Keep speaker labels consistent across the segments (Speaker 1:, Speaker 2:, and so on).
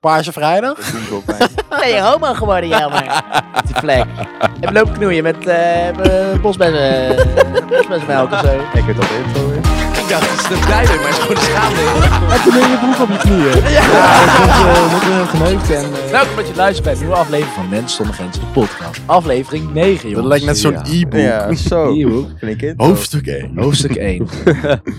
Speaker 1: Paarse Vrijdag?
Speaker 2: Dat doen ze ook bij.
Speaker 3: Ben je homo geworden, jammer. Met die vlek. En loop knoeien met eh, uh, bosbessen, bosbessenmelk of zo.
Speaker 2: Ik weet dat intro is.
Speaker 4: Ik dacht, het is de bruiloft, maar het is gewoon een schaamde.
Speaker 1: En toen ben je broek op je knieën. Ja, dat wordt heel geneukt. En, eh,
Speaker 5: Welkom Nou, dat je luistert bij een nieuwe aflevering van Mens zonder Grenzen, de podcast. Aflevering 9, jongens.
Speaker 1: dat lijkt net zo'n
Speaker 2: Ja.
Speaker 1: e-book.
Speaker 2: Ja, zo.
Speaker 5: Nieuw,
Speaker 2: Knik intro.
Speaker 1: Hoofdstuk 1.
Speaker 5: hoofdstuk 1.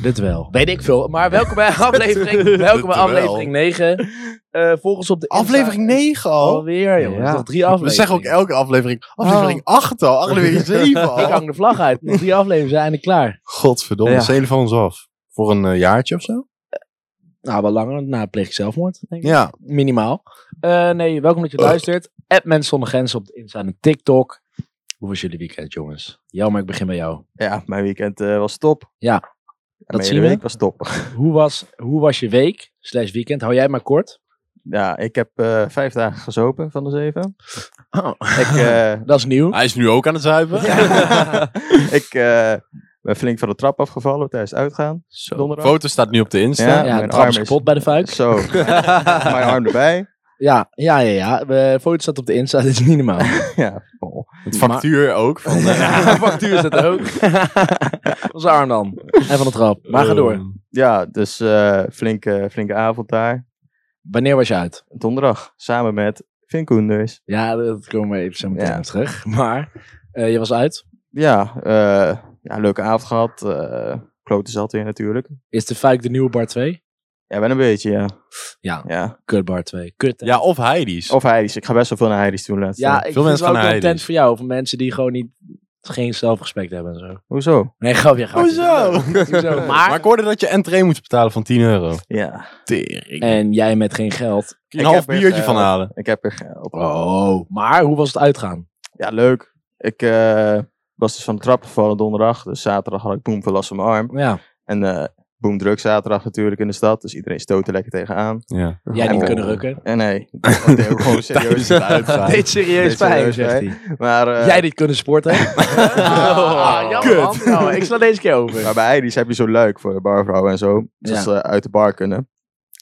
Speaker 5: Dit wel. Weet ik veel. Maar welkom bij aflevering, welkom bij
Speaker 1: Dit wel.
Speaker 5: aflevering 9. Eh volgens op de Insta-
Speaker 1: Aflevering 9 al.
Speaker 5: Alweer, jongens.
Speaker 2: Ja.
Speaker 5: Nog drie
Speaker 1: We
Speaker 5: afleveringen.
Speaker 1: zeggen ook elke aflevering. Aflevering
Speaker 2: Oh.
Speaker 1: 8 al. Aflevering 7
Speaker 5: Ik
Speaker 1: al.
Speaker 5: hang de vlag uit. Nog drie afleveringen zijn en klaar.
Speaker 1: Godverdomme.
Speaker 2: Ja.
Speaker 1: Zelen van ons af. Voor een eh, jaartje of zo?
Speaker 5: Nou, wel langer. Na pleeg ik zelfmoord, denk ik.
Speaker 1: Ja.
Speaker 5: Minimaal. Eh, nee, welkom dat je luistert. App Mens zonder Grenzen op de Insta en TikTok. Hoe was jullie weekend, jongens? Jammer, ik begin bij jou.
Speaker 2: Ja, mijn weekend eh, was top.
Speaker 5: Ja.
Speaker 2: En mijn
Speaker 5: zien
Speaker 2: hele
Speaker 5: we.
Speaker 2: week was top.
Speaker 5: Hoe was, hoe was je week slash weekend? Hou jij maar kort.
Speaker 2: Ja, ik heb eh, vijf dagen gezopen van de zeven.
Speaker 5: Oh.
Speaker 2: Ik, eh,
Speaker 5: Dat is nieuw.
Speaker 1: Hij is nu ook aan het zuipen.
Speaker 2: ik eh, ben flink van de trap afgevallen tijdens het uitgaan. Donderdag.
Speaker 1: Foto staat nu op de Insta.
Speaker 5: Ja,
Speaker 2: Ja. mijn
Speaker 5: de trap is
Speaker 2: arm is-
Speaker 5: kapot bij de fuik.
Speaker 2: Zo, mijn arm erbij.
Speaker 5: Ja, ja, ja. ja. De foto staat op de Insta, dit is niet normaal.
Speaker 2: Ja, oh.
Speaker 1: Het factuur ook. Van, eh,
Speaker 5: Ja, factuur is dat ook. Onze arm dan. En van de trap. Maar
Speaker 1: Oh.
Speaker 5: ga
Speaker 1: eh,
Speaker 5: door.
Speaker 2: ja dus eh, flinke, flinke avond daar.
Speaker 5: Wanneer was je uit?
Speaker 2: Donderdag, samen met Finn Koenders.
Speaker 5: Ja, dat komen we even zo meteen
Speaker 2: Ja.
Speaker 5: op terug. Maar eh, je was uit.
Speaker 2: Ja, eh, ja leuke avond gehad. eh klote zat weer natuurlijk.
Speaker 5: Is de fuik de nieuwe bar 2?
Speaker 2: Ja, wel een beetje, ja.
Speaker 5: Ja.
Speaker 2: ja.
Speaker 5: Kut bar 2. Kut. hè?
Speaker 1: ja, of Heidi's.
Speaker 2: Of Heidi's. Ik ga best wel veel naar Heidi's toen laatst.
Speaker 5: ja ik
Speaker 1: Veel
Speaker 5: vind het
Speaker 1: mensen
Speaker 5: wel
Speaker 1: gaan naar
Speaker 5: content
Speaker 1: Heidi's.
Speaker 5: voor jou. Voor mensen die gewoon niet, geen zelfrespect hebben en zo.
Speaker 2: Hoezo?
Speaker 5: Nee, grapje. grapje. Hoezo?
Speaker 1: Hoezo?
Speaker 5: Maar-
Speaker 1: Maar ik hoorde dat je entree moest betalen van 10 euro.
Speaker 2: Ja.
Speaker 1: Tering.
Speaker 5: En jij met geen geld.
Speaker 2: Ik
Speaker 1: Kun je een half
Speaker 2: heb echt,
Speaker 1: biertje
Speaker 2: eh,
Speaker 1: van halen.
Speaker 2: Ik heb er geld.
Speaker 5: Oh. Maar hoe was het uitgaan?
Speaker 2: Ja, leuk. Ik eh, was dus van de trap gevallen donderdag. Dus zaterdag had ik boem veel last van mijn arm.
Speaker 5: Nou Ja.
Speaker 2: En eh boem druk zaterdag natuurlijk in de stad. Dus iedereen stootte lekker tegenaan.
Speaker 1: Ja.
Speaker 5: Jij niet
Speaker 2: Oh.
Speaker 5: kunnen rukken.
Speaker 2: En nee, dat deed ook gewoon serieus.
Speaker 1: uitgaan.
Speaker 5: serieus
Speaker 2: pijn, zegt
Speaker 5: zegt hij.
Speaker 2: Maar, eh,
Speaker 5: Jij niet kunnen sporten.
Speaker 2: Ah,
Speaker 5: jammer, man. Nou, ik sla deze keer over.
Speaker 2: maar bij Heidi's heb je zo'n luik voor de barvrouw en zo.
Speaker 5: Ja.
Speaker 2: Dus ze uit de bar kunnen.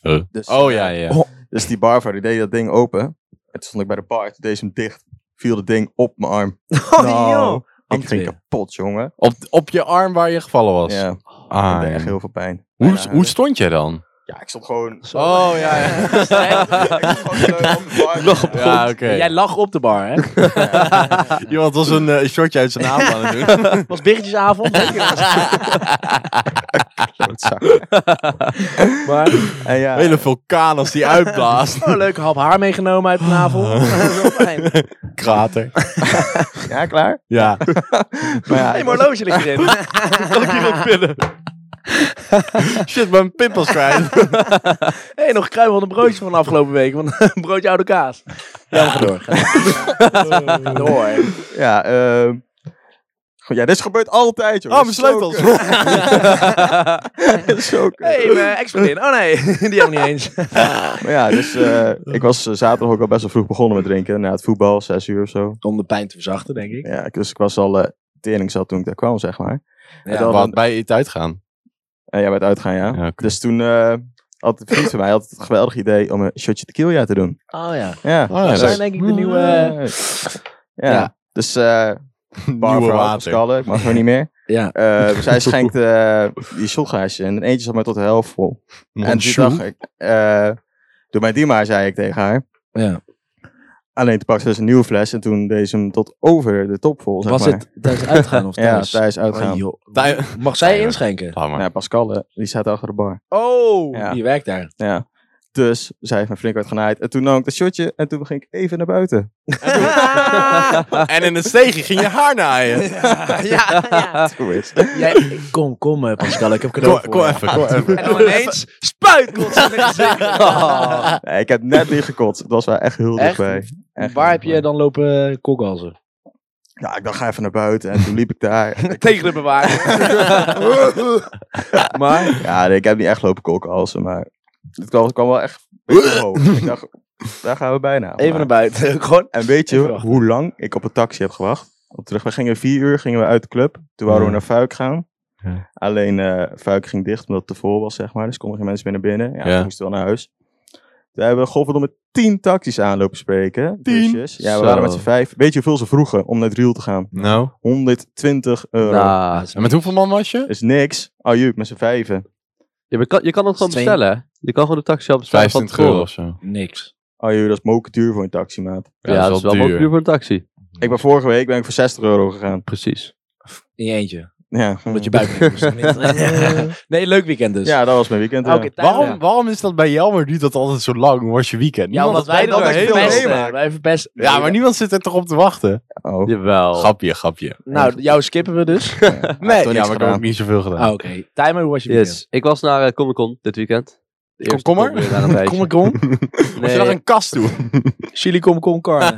Speaker 1: Huh?
Speaker 2: Dus,
Speaker 1: Oh
Speaker 2: eh,
Speaker 1: ja, ja.
Speaker 5: Oh.
Speaker 2: Dus die barvrouw die deed dat ding open. En toen stond ik bij de bar, toen deed ze hem dicht. Viel dat ding op mijn arm.
Speaker 5: Oh,
Speaker 2: Nou, ik
Speaker 5: Antwerp.
Speaker 2: ging kapot, jongen.
Speaker 1: Op, op je arm waar je gevallen was.
Speaker 2: Ja, ik
Speaker 1: Ah,
Speaker 2: deed
Speaker 1: ja.
Speaker 2: echt heel veel pijn.
Speaker 1: Hoe,
Speaker 2: Bijna
Speaker 1: hoe
Speaker 2: huilen.
Speaker 1: stond jij dan?
Speaker 2: Ja, ik stond gewoon...
Speaker 1: Oh ja, ja.
Speaker 2: Ik stond gewoon zo op de bar.
Speaker 1: Ja, oké.
Speaker 5: Jij lag op de bar, hè?
Speaker 1: Iemand was een eh, shotje uit zijn naam aan het doen.
Speaker 5: Was biggetjesavond.
Speaker 2: Klootzak.
Speaker 5: maar
Speaker 2: En ja,
Speaker 1: Hele vulkaan als die uitblaast.
Speaker 5: oh, leuk hap haar meegenomen uit de navel. Zo fijn.
Speaker 1: Krater.
Speaker 2: ja, klaar?
Speaker 1: Ja.
Speaker 2: Maar ja,
Speaker 5: Hey, mijn horloge ligt erin.
Speaker 1: Kan ik iemand pillen? Shit, mijn pip was kwijt.
Speaker 5: hey, nog kruimel van een broodje van de afgelopen week. Want een broodje oude kaas. Ja, maar ga door. Ga door. Ga door.
Speaker 2: ja, ehm, goed, ja, dit is gebeurd altijd, joh.
Speaker 1: Oh,
Speaker 2: Dat
Speaker 1: mijn
Speaker 2: is zo
Speaker 1: sleutels.
Speaker 2: kut. Dat is zo kut.
Speaker 5: hey, mijn ex-vriendin. Oh nee, die hebben we niet eens.
Speaker 2: Maar ja, dus eh, ik was eh, zaterdag ook al best wel vroeg begonnen met drinken. Na het voetbal, zes uur of zo.
Speaker 5: Om de pijn te verzachten, denk ik.
Speaker 2: Ja, dus ik was al eh tering zat toen ik daar kwam, zeg maar.
Speaker 5: Ja,
Speaker 2: en dan,
Speaker 1: Wat, bij het uitgaan?
Speaker 2: eh, ja, bij het uitgaan, ja.
Speaker 1: Ja, oké.
Speaker 2: Dus toen eh had een vriend van mij had het geweldig idee om een shotje tequila te doen.
Speaker 5: Oh ja.
Speaker 2: Ja.
Speaker 1: Oh, ja,
Speaker 5: Dat zijn
Speaker 1: dat-
Speaker 5: denk ik de nieuwe...
Speaker 2: Ja.
Speaker 5: Ja.
Speaker 2: Dus eh
Speaker 1: Nieuwe
Speaker 2: barvrouw
Speaker 1: water.
Speaker 2: skallen, ik mag er niet meer.
Speaker 5: Ja.
Speaker 2: Eh, dus hij schenkt eh, die shotgaasje en eentje zat maar tot de helft vol. en toen dacht ik, eh, doe mij die maar, zei ik tegen haar.
Speaker 5: Ja.
Speaker 2: Alleen toen pakte ze dus een nieuwe fles en toen deed ze hem tot over de top vol, zeg
Speaker 5: Was
Speaker 2: maar.
Speaker 5: het tijdens het uitgaan of
Speaker 2: Ja,
Speaker 5: thuis?
Speaker 2: tijdens uitgaan.
Speaker 5: Oh, joh.
Speaker 1: Tij-
Speaker 5: Mag zij inschenken?
Speaker 1: Hammer.
Speaker 2: Ja, Pascalle, die staat achter de bar.
Speaker 5: Oh,
Speaker 2: Ja.
Speaker 5: die werkt daar.
Speaker 2: Ja. Dus zij heeft me flink wat genaaid. En toen nam ik dat shotje en toen ging ik even naar buiten.
Speaker 1: En in het steegje ging je haar naaien.
Speaker 3: Ja,
Speaker 5: Ah.
Speaker 3: ja.
Speaker 2: Hoe is
Speaker 5: Jij, kom, kom eh, Pascal, ik heb cadeau
Speaker 1: Kom,
Speaker 5: voor
Speaker 1: kom
Speaker 5: je.
Speaker 1: even, kom even.
Speaker 3: En dan ineens spuit kotsen in het gezicht.
Speaker 2: Nee, ik heb net niet gekotst. Dat was wel echt heel
Speaker 5: Ah. Echt?
Speaker 2: dichtbij. Echt
Speaker 5: Waar
Speaker 2: heel
Speaker 5: heb je
Speaker 2: dichtbij.
Speaker 5: dan lopen kokhalzen?
Speaker 2: Nou, ik dacht, ga even naar buiten. En toen liep ik daar.
Speaker 5: Tegen de bewaker. maar,
Speaker 2: ja, nee, ik heb niet echt lopen kokhalsen, maar het kwam, het kwam wel echt omhoog. Ik dacht, daar gaan we bijna.
Speaker 5: even naar
Speaker 2: Maar-
Speaker 5: buiten. Gewoon.
Speaker 2: En weet
Speaker 5: Even
Speaker 2: je
Speaker 5: wachten.
Speaker 2: hoe lang ik op een taxi heb gewacht? Op terug, we gingen vier uur gingen we uit de club. Toen wouden we
Speaker 1: Ja.
Speaker 2: naar Fuik gaan.
Speaker 1: Ja.
Speaker 2: Alleen eh Fuik ging dicht omdat het te vol was, zeg maar. Dus konden geen mensen meer naar binnen. Ja,
Speaker 1: Ja.
Speaker 2: we moesten wel naar huis. Daar hebben we godverdomme tien taxis aanlopen spreken.
Speaker 1: Tien?
Speaker 2: Busjes. Ja, we
Speaker 1: Zo.
Speaker 2: waren met z'n vijf. Weet je hoeveel ze vroegen om naar het Riel te gaan?
Speaker 1: Nou.
Speaker 2: 120 euro.
Speaker 6: Nou,
Speaker 5: Nou,
Speaker 1: Nah. En met hoeveel man was je?
Speaker 2: Dat is niks. Ajup, met z'n vijven.
Speaker 6: Ja, maar kan, je kan het gewoon
Speaker 3: Twee-
Speaker 6: bestellen. hè? Je kan gewoon de taxi al bestellen van
Speaker 1: 25 euro
Speaker 6: tevoren.
Speaker 1: of zo.
Speaker 5: Niks.
Speaker 2: Ajup, Ah, dat is moker duur voor een taximaat.
Speaker 6: Ja, dat is wel
Speaker 1: duur.
Speaker 6: mogelijk duur voor een taxi.
Speaker 2: Ik ben vorige week ben ik voor 60 euro gegaan.
Speaker 6: Precies.
Speaker 5: In je eentje.
Speaker 2: Ja,
Speaker 5: Omdat je buik moest.
Speaker 3: dus
Speaker 5: Nee, leuk weekend dus.
Speaker 2: ja dat was mijn weekend.
Speaker 3: Oké,
Speaker 2: ja.
Speaker 3: Tijmen.
Speaker 1: Waarom, waarom is dat bij Jelmer duurt dat altijd zo lang? Hoe was je weekend?
Speaker 3: Ja, omdat
Speaker 1: Niemand-
Speaker 3: wij dat
Speaker 2: dat ik veel
Speaker 3: verpesten.
Speaker 2: meemaak.
Speaker 3: Wij verpesten.
Speaker 1: ja, maar niemand zit er toch op te wachten?
Speaker 2: Oh.
Speaker 6: Jawel.
Speaker 1: Grapje, grapje.
Speaker 3: Nou, jou skippen we dus.
Speaker 1: Nee,
Speaker 2: toch
Speaker 1: ja,
Speaker 2: niks
Speaker 1: maar ik heb
Speaker 2: gedaan.
Speaker 1: ook niet zoveel gedaan.
Speaker 5: Ah, Oké. Tijmen, hoe was je weekend?
Speaker 6: Yes. Ik was naar eh, Comic Con dit weekend. De eerste
Speaker 1: Komkommer?
Speaker 6: Comic Con na een
Speaker 1: Oh,
Speaker 6: tijdje.
Speaker 5: Kom ik om?
Speaker 1: Moet je
Speaker 6: Nee,
Speaker 1: naar een kast toe?
Speaker 5: Chili Kom Con Carne.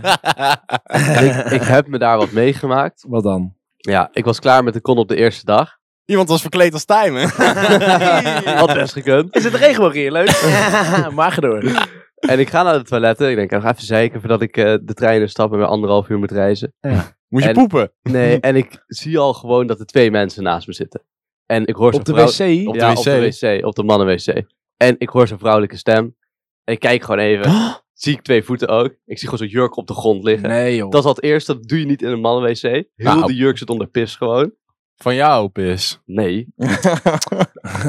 Speaker 6: ik, ik heb me daar wat meegemaakt.
Speaker 5: Wat dan?
Speaker 6: Ja, ik was klaar met de con op de eerste dag.
Speaker 1: Iemand was verkleed als Tijmen.
Speaker 6: Had best gekund.
Speaker 3: Is het regenboog hier? Leuk. maar ga door.
Speaker 6: En ik ga naar de toiletten. Ik denk, ik ga even zeiken voordat ik eh, de trein instap en weer anderhalf uur moet reizen.
Speaker 1: Moet je
Speaker 6: En-
Speaker 1: poepen?
Speaker 6: Nee, en ik zie al gewoon dat er twee mensen naast me zitten. En ik hoor zo'n
Speaker 5: Op de
Speaker 6: vrouw-
Speaker 5: wc?
Speaker 1: Op de
Speaker 6: ja,
Speaker 1: wc?
Speaker 6: op de wc. Op de mannenwc. En ik hoor zo'n vrouwelijke stem. En ik kijk gewoon even. Zie ik twee voeten ook. Ik zie gewoon zo'n jurk op de grond liggen.
Speaker 5: Nee joh.
Speaker 6: Dat is al het eerste. Dat doe je niet in een mannenwc. Heel
Speaker 1: Nou.
Speaker 6: de jurk zit onder pis gewoon.
Speaker 1: Van jou, pis.
Speaker 6: Nee.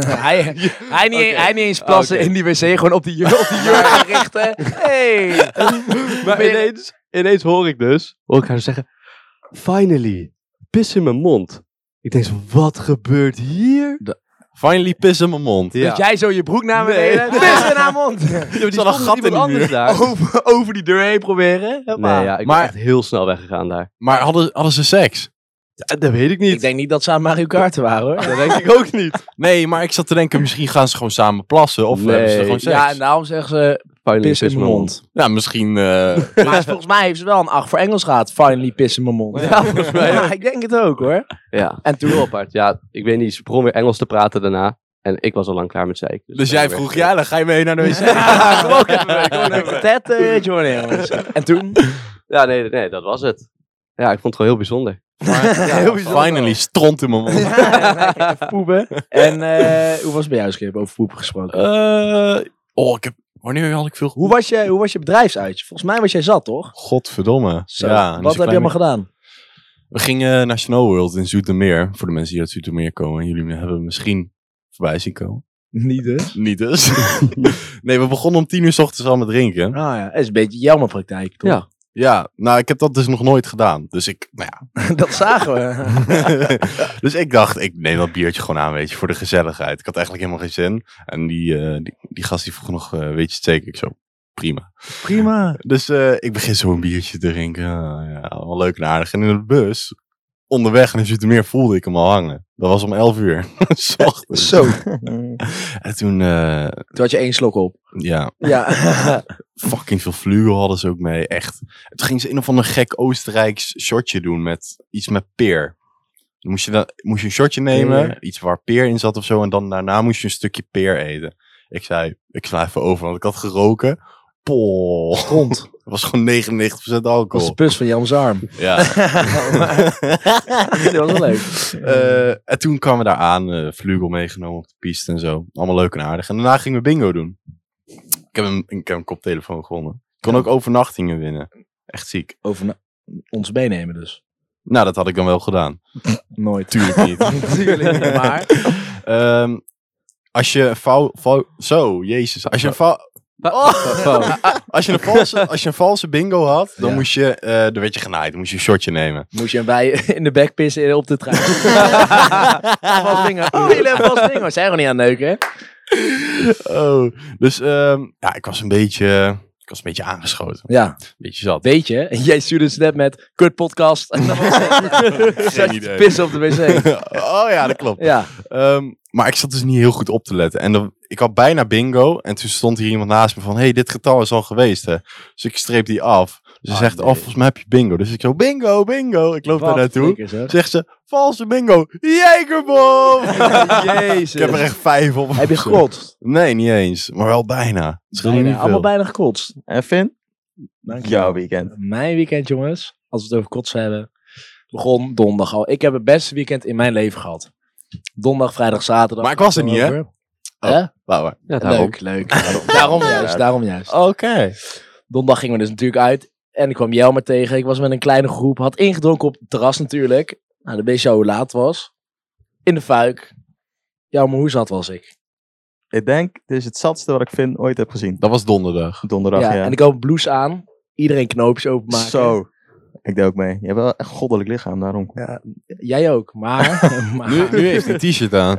Speaker 3: Hij, hij, niet,
Speaker 6: Oké.
Speaker 3: hij niet eens plassen
Speaker 6: Oké.
Speaker 3: in die wc, gewoon op die jurk, op die jurk richten. Hey.
Speaker 6: Maar ineens, ineens hoor ik dus. Hoor ik haar zeggen. Finally. Pis in mijn mond. Ik denk zo, wat gebeurt hier?
Speaker 1: Finally pis in mijn mond.
Speaker 6: Ja.
Speaker 3: Dat jij zo je broek naar
Speaker 6: Nee.
Speaker 3: beneden. Pis in haar mond.
Speaker 6: Er
Speaker 1: zat een gat in de muur.
Speaker 6: daar.
Speaker 3: Over, over die deur heen proberen. Hoppa.
Speaker 5: Oh,
Speaker 6: Nee, ja, ik
Speaker 1: Maar-
Speaker 6: ben echt heel snel weggegaan daar.
Speaker 1: Maar hadden, hadden ze seks?
Speaker 6: Ja, dat weet ik niet.
Speaker 3: Ik denk niet dat ze aan Mario Kart waren hoor.
Speaker 6: Dat denk ik ook niet.
Speaker 1: Nee, maar ik zat te denken, misschien gaan ze gewoon samen plassen. Of eh,
Speaker 6: Nee.
Speaker 1: hebben ze er gewoon seks?
Speaker 5: Ja,
Speaker 1: Ja, nou-
Speaker 5: en daarom zeggen ze
Speaker 6: Finally,
Speaker 5: pis in mijn mond.
Speaker 1: misschien... eh,
Speaker 3: Maar
Speaker 5: Maar
Speaker 3: volgens
Speaker 5: volgens mij heeft ze wel een 8 voor Engels gehad. Finally pis in mijn mond.
Speaker 6: Ja, volgens mij.
Speaker 3: Ja, ik denk het ook hoor.
Speaker 6: Ja. En toen heel apart. Ja, ik weet niet, ze begon weer Engels te praten daarna. En ik was al lang klaar met zeiken.
Speaker 1: dus jij vroeg, ja, dan ga je mee naar de wc.
Speaker 3: Kom ook even mee, kom ook even mee. Ted, eh, Johnny, jongens. En toen?
Speaker 6: Ja, nee, nee, dat was het. Ja, ik vond het gewoon heel bijzonder.
Speaker 1: Maar, ja, finally, stront in mijn mond.
Speaker 3: Even poepen.
Speaker 5: En eh, hoe was het bij jou, Schip? Over poep gesproken.
Speaker 1: Eh, oh, ik heb... Wanneer had ik veel...
Speaker 5: hoe, was je, hoe was je bedrijfsuitje? Volgens mij was jij zat, toch?
Speaker 1: Godverdomme.
Speaker 5: Zo.
Speaker 1: Ja, dus
Speaker 5: Wat heb
Speaker 1: ik
Speaker 5: je
Speaker 1: ben-
Speaker 5: allemaal gedaan?
Speaker 1: We gingen naar Snow World in Zoetermeer. Voor de mensen die uit Zoetermeer komen. Jullie hebben me misschien voorbij zien komen.
Speaker 5: Niet dus.
Speaker 1: Niet dus. nee, we begonnen om tien uur 's ochtends al met drinken.
Speaker 5: Ah ja, dat is een beetje jammer praktijk, toch?
Speaker 6: Ja.
Speaker 1: Ja, nou, ik heb dat dus nog nooit gedaan. Dus ik, nou ja.
Speaker 5: dat zagen we.
Speaker 1: dus ik dacht, ik neem dat biertje gewoon aan, weet je, voor de gezelligheid. Ik had eigenlijk helemaal geen zin. En die, eh, die, die gast die vroeg nog, eh, weet je het zeker? Ik zo, prima.
Speaker 5: Prima.
Speaker 1: Dus eh, ik begin zo een biertje te drinken. Ah, ja, wel leuk en aardig. En in de bus, onderweg naar Zoetermeer, voelde ik hem al hangen. Dat was om 11 uur. 's ochtends.
Speaker 5: Zo.
Speaker 1: En toen, eh,
Speaker 5: Toen had je één slok op.
Speaker 1: ja,
Speaker 5: Ja.
Speaker 1: fucking veel vlugel hadden ze ook mee, echt. En toen ging ze een of ander gek Oostenrijks shotje doen met iets met peer. Dan moest je, dan, moest je een shotje nemen, iets waar peer in zat of zo, en dan daarna moest je een stukje peer eten. Ik zei, ik sla even over, want ik had geroken. Pol.
Speaker 5: Grond.
Speaker 1: Het was gewoon 99%
Speaker 5: Dat was de
Speaker 1: alcohol.
Speaker 5: pus van Jans arm.
Speaker 1: Ja.
Speaker 5: Dat was wel leuk.
Speaker 1: Eh, en toen kwamen we daar aan, eh vlugel meegenomen op de piste en zo. Allemaal leuk en aardig. En daarna gingen we bingo doen. Ik heb een, ik heb een koptelefoon gewonnen. Ik kon ook overnachtingen winnen. Echt ziek.
Speaker 5: Over na- ons meenemen dus.
Speaker 1: Nou, dat had ik dan wel gedaan.
Speaker 5: Nooit.
Speaker 1: Tuurlijk niet.
Speaker 5: Natuurlijk, maar...
Speaker 1: Ehm, als je een fout, Zo, jezus. Als je een fout... Als je, een valse, als je een valse bingo had, dan
Speaker 5: Ja.
Speaker 1: moest je, eh dan werd je genaaid. Dan moest je een shotje nemen.
Speaker 5: Moest je een bij in de bek pissen en op de trein.
Speaker 3: Vast dingen. Oh, jullie hebben vast dingen. Zijn we niet aan het neuken, hè?
Speaker 1: Oh, dus ehm, ja, ik was een beetje, ik was een beetje aangeschoten.
Speaker 5: ja,
Speaker 1: Een beetje zat.
Speaker 5: weet je. En jij stuurde een snap met kut podcast. En dan was het-
Speaker 1: Geen idee.
Speaker 5: Pissen op de wc.
Speaker 1: oh ja, dat klopt.
Speaker 5: Ja,
Speaker 1: Ehm, maar ik zat dus niet heel goed op te letten. En dan, ik had bijna bingo. En toen stond hier iemand naast me van... hey, dit getal is al geweest, hè. Dus ik streep die af. Dus
Speaker 6: Ah,
Speaker 1: ze zegt, oh, volgens mij heb je bingo. Dus ik zo, bingo, bingo. Ik loop daar
Speaker 5: Wat
Speaker 1: naartoe.
Speaker 5: flikkers, hè?
Speaker 1: Zegt ze, valse bingo. Jekerbom!
Speaker 5: Jezus.
Speaker 1: ik heb er echt vijf op.
Speaker 5: Heb je gekotst?
Speaker 1: Nee, niet eens. Maar wel bijna. Het scheelde
Speaker 5: Bijna,
Speaker 1: niet veel.
Speaker 5: allemaal bijna gekotst.
Speaker 2: en Finn?
Speaker 5: Dank je.
Speaker 2: Jouw weekend.
Speaker 5: Mijn weekend, jongens, als we het over kotsen hebben, begon donderdag al. Ik heb het beste weekend in mijn leven gehad. Donderdag, vrijdag, zaterdag.
Speaker 1: Maar ik was er niet, hè? Oh,
Speaker 5: Over. Hè?
Speaker 1: Wauw.
Speaker 6: Ja, daarom.
Speaker 5: Leuk, leuk. Daarom, daarom
Speaker 6: dus
Speaker 5: juist, daarom juist.
Speaker 1: Oké.
Speaker 5: Donderdag gingen we dus natuurlijk uit. En ik kwam Jelmer tegen. Ik was met een kleine groep. Had ingedronken op het terras natuurlijk. Nou, dan wist je al hoe laat het was. In de fuik. Jelmer, hoe zat was ik?
Speaker 2: Ik denk, dit is het zatste wat ik vind ooit heb gezien.
Speaker 1: Dat was donderdag.
Speaker 2: Donderdag, ja.
Speaker 5: En ik had een blouse aan. Iedereen knoopjes openmaken.
Speaker 2: Zo. Ik deed ook mee. Je hebt wel echt een goddelijk lichaam, daarom.
Speaker 5: Jij ook. Maar... maar
Speaker 1: Nu, nu heeft hij een t-shirt aan.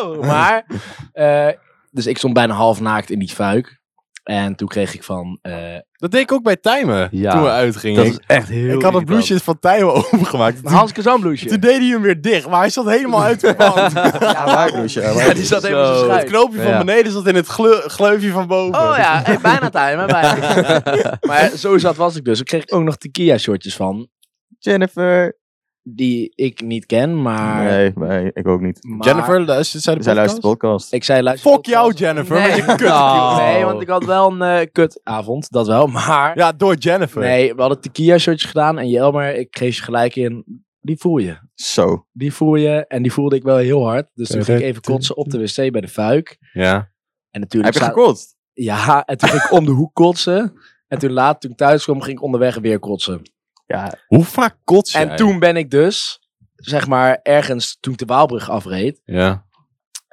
Speaker 5: Oh, maar. eh, dus ik stond bijna half naakt in die fuik. En toen kreeg ik van. eh,
Speaker 1: Dat deed ik ook bij Tijmen.
Speaker 6: Ja.
Speaker 1: Toen we uitgingen.
Speaker 6: Dat
Speaker 1: Ik-
Speaker 6: is echt heel
Speaker 1: ik had het
Speaker 6: irritant.
Speaker 1: bloesje van Tijmen opengemaakt.
Speaker 5: een Hans Kazan blouseje.
Speaker 1: Toen deed hij hem weer dicht, maar hij zat helemaal uit de hand.
Speaker 2: Ja, waar, Bloesje? Ja, waar,
Speaker 5: Ja, die zat even zo
Speaker 1: Het
Speaker 5: schuin.
Speaker 1: knoopje van
Speaker 6: Ja.
Speaker 1: beneden zat in het gleu- gleufje van boven.
Speaker 5: Oh ja, hey, bijna time, hè, bijna. maar zo zat was ik dus. Ik kreeg ook nog tequila shortjes van.
Speaker 2: Jennifer.
Speaker 5: Die ik niet ken, maar...
Speaker 2: Nee, nee, ik ook niet.
Speaker 5: maar-
Speaker 1: Jennifer, luister, zij de
Speaker 2: Zij luistert
Speaker 1: podcast?
Speaker 2: de podcast.
Speaker 5: Ik zei, luister...
Speaker 1: Fuck jou,
Speaker 5: podcast.
Speaker 1: Jennifer.
Speaker 5: Nee.
Speaker 1: met je kut.
Speaker 6: Oh.
Speaker 5: Nee, want ik had wel een eh, kutavond, dat wel. Maar...
Speaker 1: Ja, door Jennifer.
Speaker 5: nee, we hadden tequila shortjes gedaan. En Jelmer, ik geef je gelijk in. Die voel je.
Speaker 2: Zo.
Speaker 5: Die voel je. En die voelde ik wel heel hard. Dus toen ging ik even kotsen op de wc bij de fuik.
Speaker 1: Ja.
Speaker 5: En
Speaker 2: Heb
Speaker 5: natuurlijk
Speaker 2: je
Speaker 5: staat-
Speaker 2: gekotst?
Speaker 5: Ja, en toen ging ik om de hoek kotsen. En toen laat, toen ik thuis kwam, ging ik onderweg weer kotsen.
Speaker 2: Ja.
Speaker 1: Hoe vaak kots jij?
Speaker 5: En toen ben ik dus, zeg maar, ergens toen ik de Waalbrug afreed.
Speaker 1: Ja.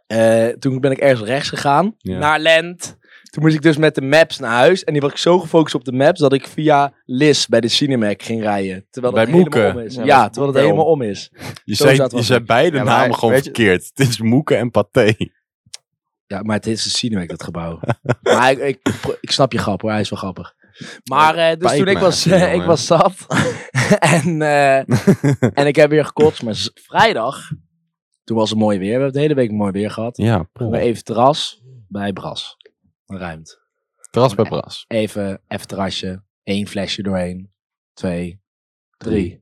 Speaker 5: eh, toen ben ik ergens rechts gegaan
Speaker 1: Ja.
Speaker 5: naar Lent. Toen moest ik dus met de maps naar huis. En die was ik zo gefocust op de maps dat ik via Lis bij de Cinemac ging rijden. Terwijl
Speaker 1: Bij
Speaker 5: het helemaal
Speaker 1: Moeken.
Speaker 5: om is.
Speaker 2: Ja,
Speaker 5: Ja,
Speaker 2: dat is
Speaker 5: terwijl het
Speaker 2: wel.
Speaker 5: helemaal om is.
Speaker 1: Je
Speaker 5: Zo
Speaker 1: zei,
Speaker 5: zat
Speaker 1: je
Speaker 5: was
Speaker 1: zei beide
Speaker 2: Ja, maar
Speaker 1: namen gewoon
Speaker 2: weet je-
Speaker 1: verkeerd. Het is Moeken en Pathé.
Speaker 5: Ja, maar het is de Cinemac, dat gebouw. maar ik, ik, ik snap je grap hoor, hij is wel grappig. Maar eh, dus
Speaker 1: Spijt
Speaker 5: toen ik
Speaker 1: me,
Speaker 5: was,
Speaker 1: jongen.
Speaker 5: eh, ik was zat. en, eh, en ik heb weer gekotst. Maar z- vrijdag, toen was het mooi weer. We hebben de hele week mooi weer gehad.
Speaker 1: Ja,
Speaker 5: Maar even terras bij Bras. Een ruimte.
Speaker 1: Tras bij Bras.
Speaker 5: Even, even terrasje. Eén flesje doorheen. Twee. Drie.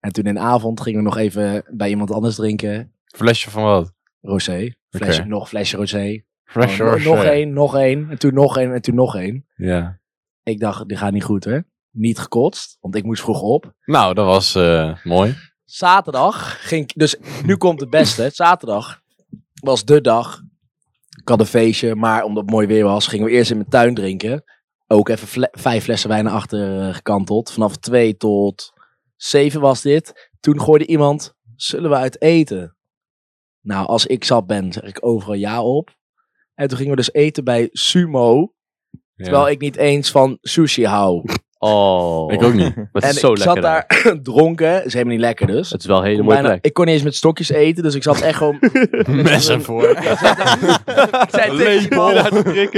Speaker 5: En toen in de avond gingen we nog even bij iemand anders drinken.
Speaker 1: Flesje van wat?
Speaker 5: Rosé. Flesje,
Speaker 1: Oké.
Speaker 5: nog een flesje rosé.
Speaker 1: Flesje
Speaker 5: Oh, no-
Speaker 1: Rosé.
Speaker 5: Nog één, nog één. En toen nog één en toen nog één.
Speaker 1: Ja.
Speaker 5: Ik dacht, dit gaat niet goed hè. Niet gekotst, want ik moest vroeg op.
Speaker 1: Nou, dat was eh, mooi.
Speaker 5: Zaterdag ging ik, dus nu komt het beste. Zaterdag was de dag. Ik had een feestje, maar omdat het mooi weer was, gingen we eerst in mijn tuin drinken. Ook even fle- vijf flessen wijn naar achter eh, gekanteld. Vanaf twee tot zeven was dit. Toen gooide iemand, zullen we uit eten? Nou, als ik zat ben, zeg ik overal ja op. En toen gingen we dus eten bij Sumo. Terwijl ik niet eens van sushi hou.
Speaker 6: Oh.
Speaker 1: Ik ook niet.
Speaker 6: Maar het
Speaker 5: en
Speaker 6: is zo
Speaker 5: ik
Speaker 6: lekker
Speaker 5: zat
Speaker 6: daar.
Speaker 5: daar dronken. Is helemaal niet lekker dus.
Speaker 6: Het is wel een hele
Speaker 5: Kon
Speaker 6: mooie
Speaker 5: bijna-
Speaker 6: plek.
Speaker 5: ik kon niet eens met stokjes eten, dus ik zat echt gewoon...
Speaker 1: Messen voor.
Speaker 5: ik zei tegen die man... Ik zei tegen,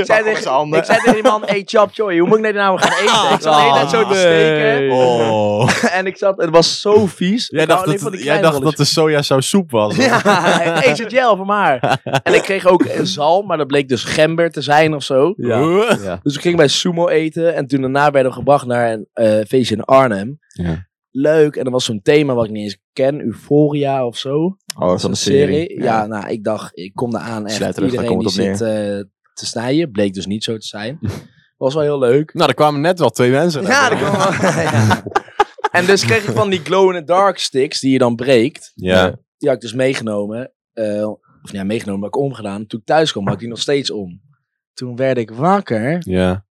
Speaker 5: ik zei tegen die man, hey Chap Choy, hoe moet ik nou nou gaan eten? Ik zat de hele tijd zo te steken.
Speaker 1: Oh.
Speaker 5: En ik zat, het was zo vies.
Speaker 1: Jij
Speaker 5: Ik hou
Speaker 1: dacht,
Speaker 5: alleen van
Speaker 1: dat,
Speaker 5: die
Speaker 1: jij
Speaker 5: kleine
Speaker 1: dacht dat de sojasaus soep was.
Speaker 5: rolletjes. Ja, eet het gel voor maar. En ik kreeg ook een zalm, maar dat bleek dus gember te zijn of zo.
Speaker 1: Ja.
Speaker 6: Ja.
Speaker 5: Dus we gingen bij Sumo eten. En toen daarna werden we gebracht naar een eh, feestje in Arnhem.
Speaker 1: Ja.
Speaker 5: Leuk. En er was zo'n thema wat ik niet eens ken. Euphoria of zo.
Speaker 2: Oh, dat is
Speaker 5: Van
Speaker 2: een serie.
Speaker 5: Ja, nou, ik dacht, ik kom eraan. Echt
Speaker 2: Sluit terug, daar
Speaker 5: iedereen die
Speaker 2: komt het op
Speaker 5: zit eh, te snijden. Bleek dus niet zo te zijn. was wel heel leuk.
Speaker 1: Nou, er kwamen net wel twee mensen.
Speaker 5: Ja, dat kwam wel. ja. En dus kreeg ik van die glow-in-the-dark sticks die je dan breekt.
Speaker 1: Ja.
Speaker 5: Die had ik dus meegenomen. eh, of ja, meegenomen, maar ik omgedaan. Toen ik thuis kwam, had ik die nog steeds om. Toen werd ik wakker
Speaker 1: ja.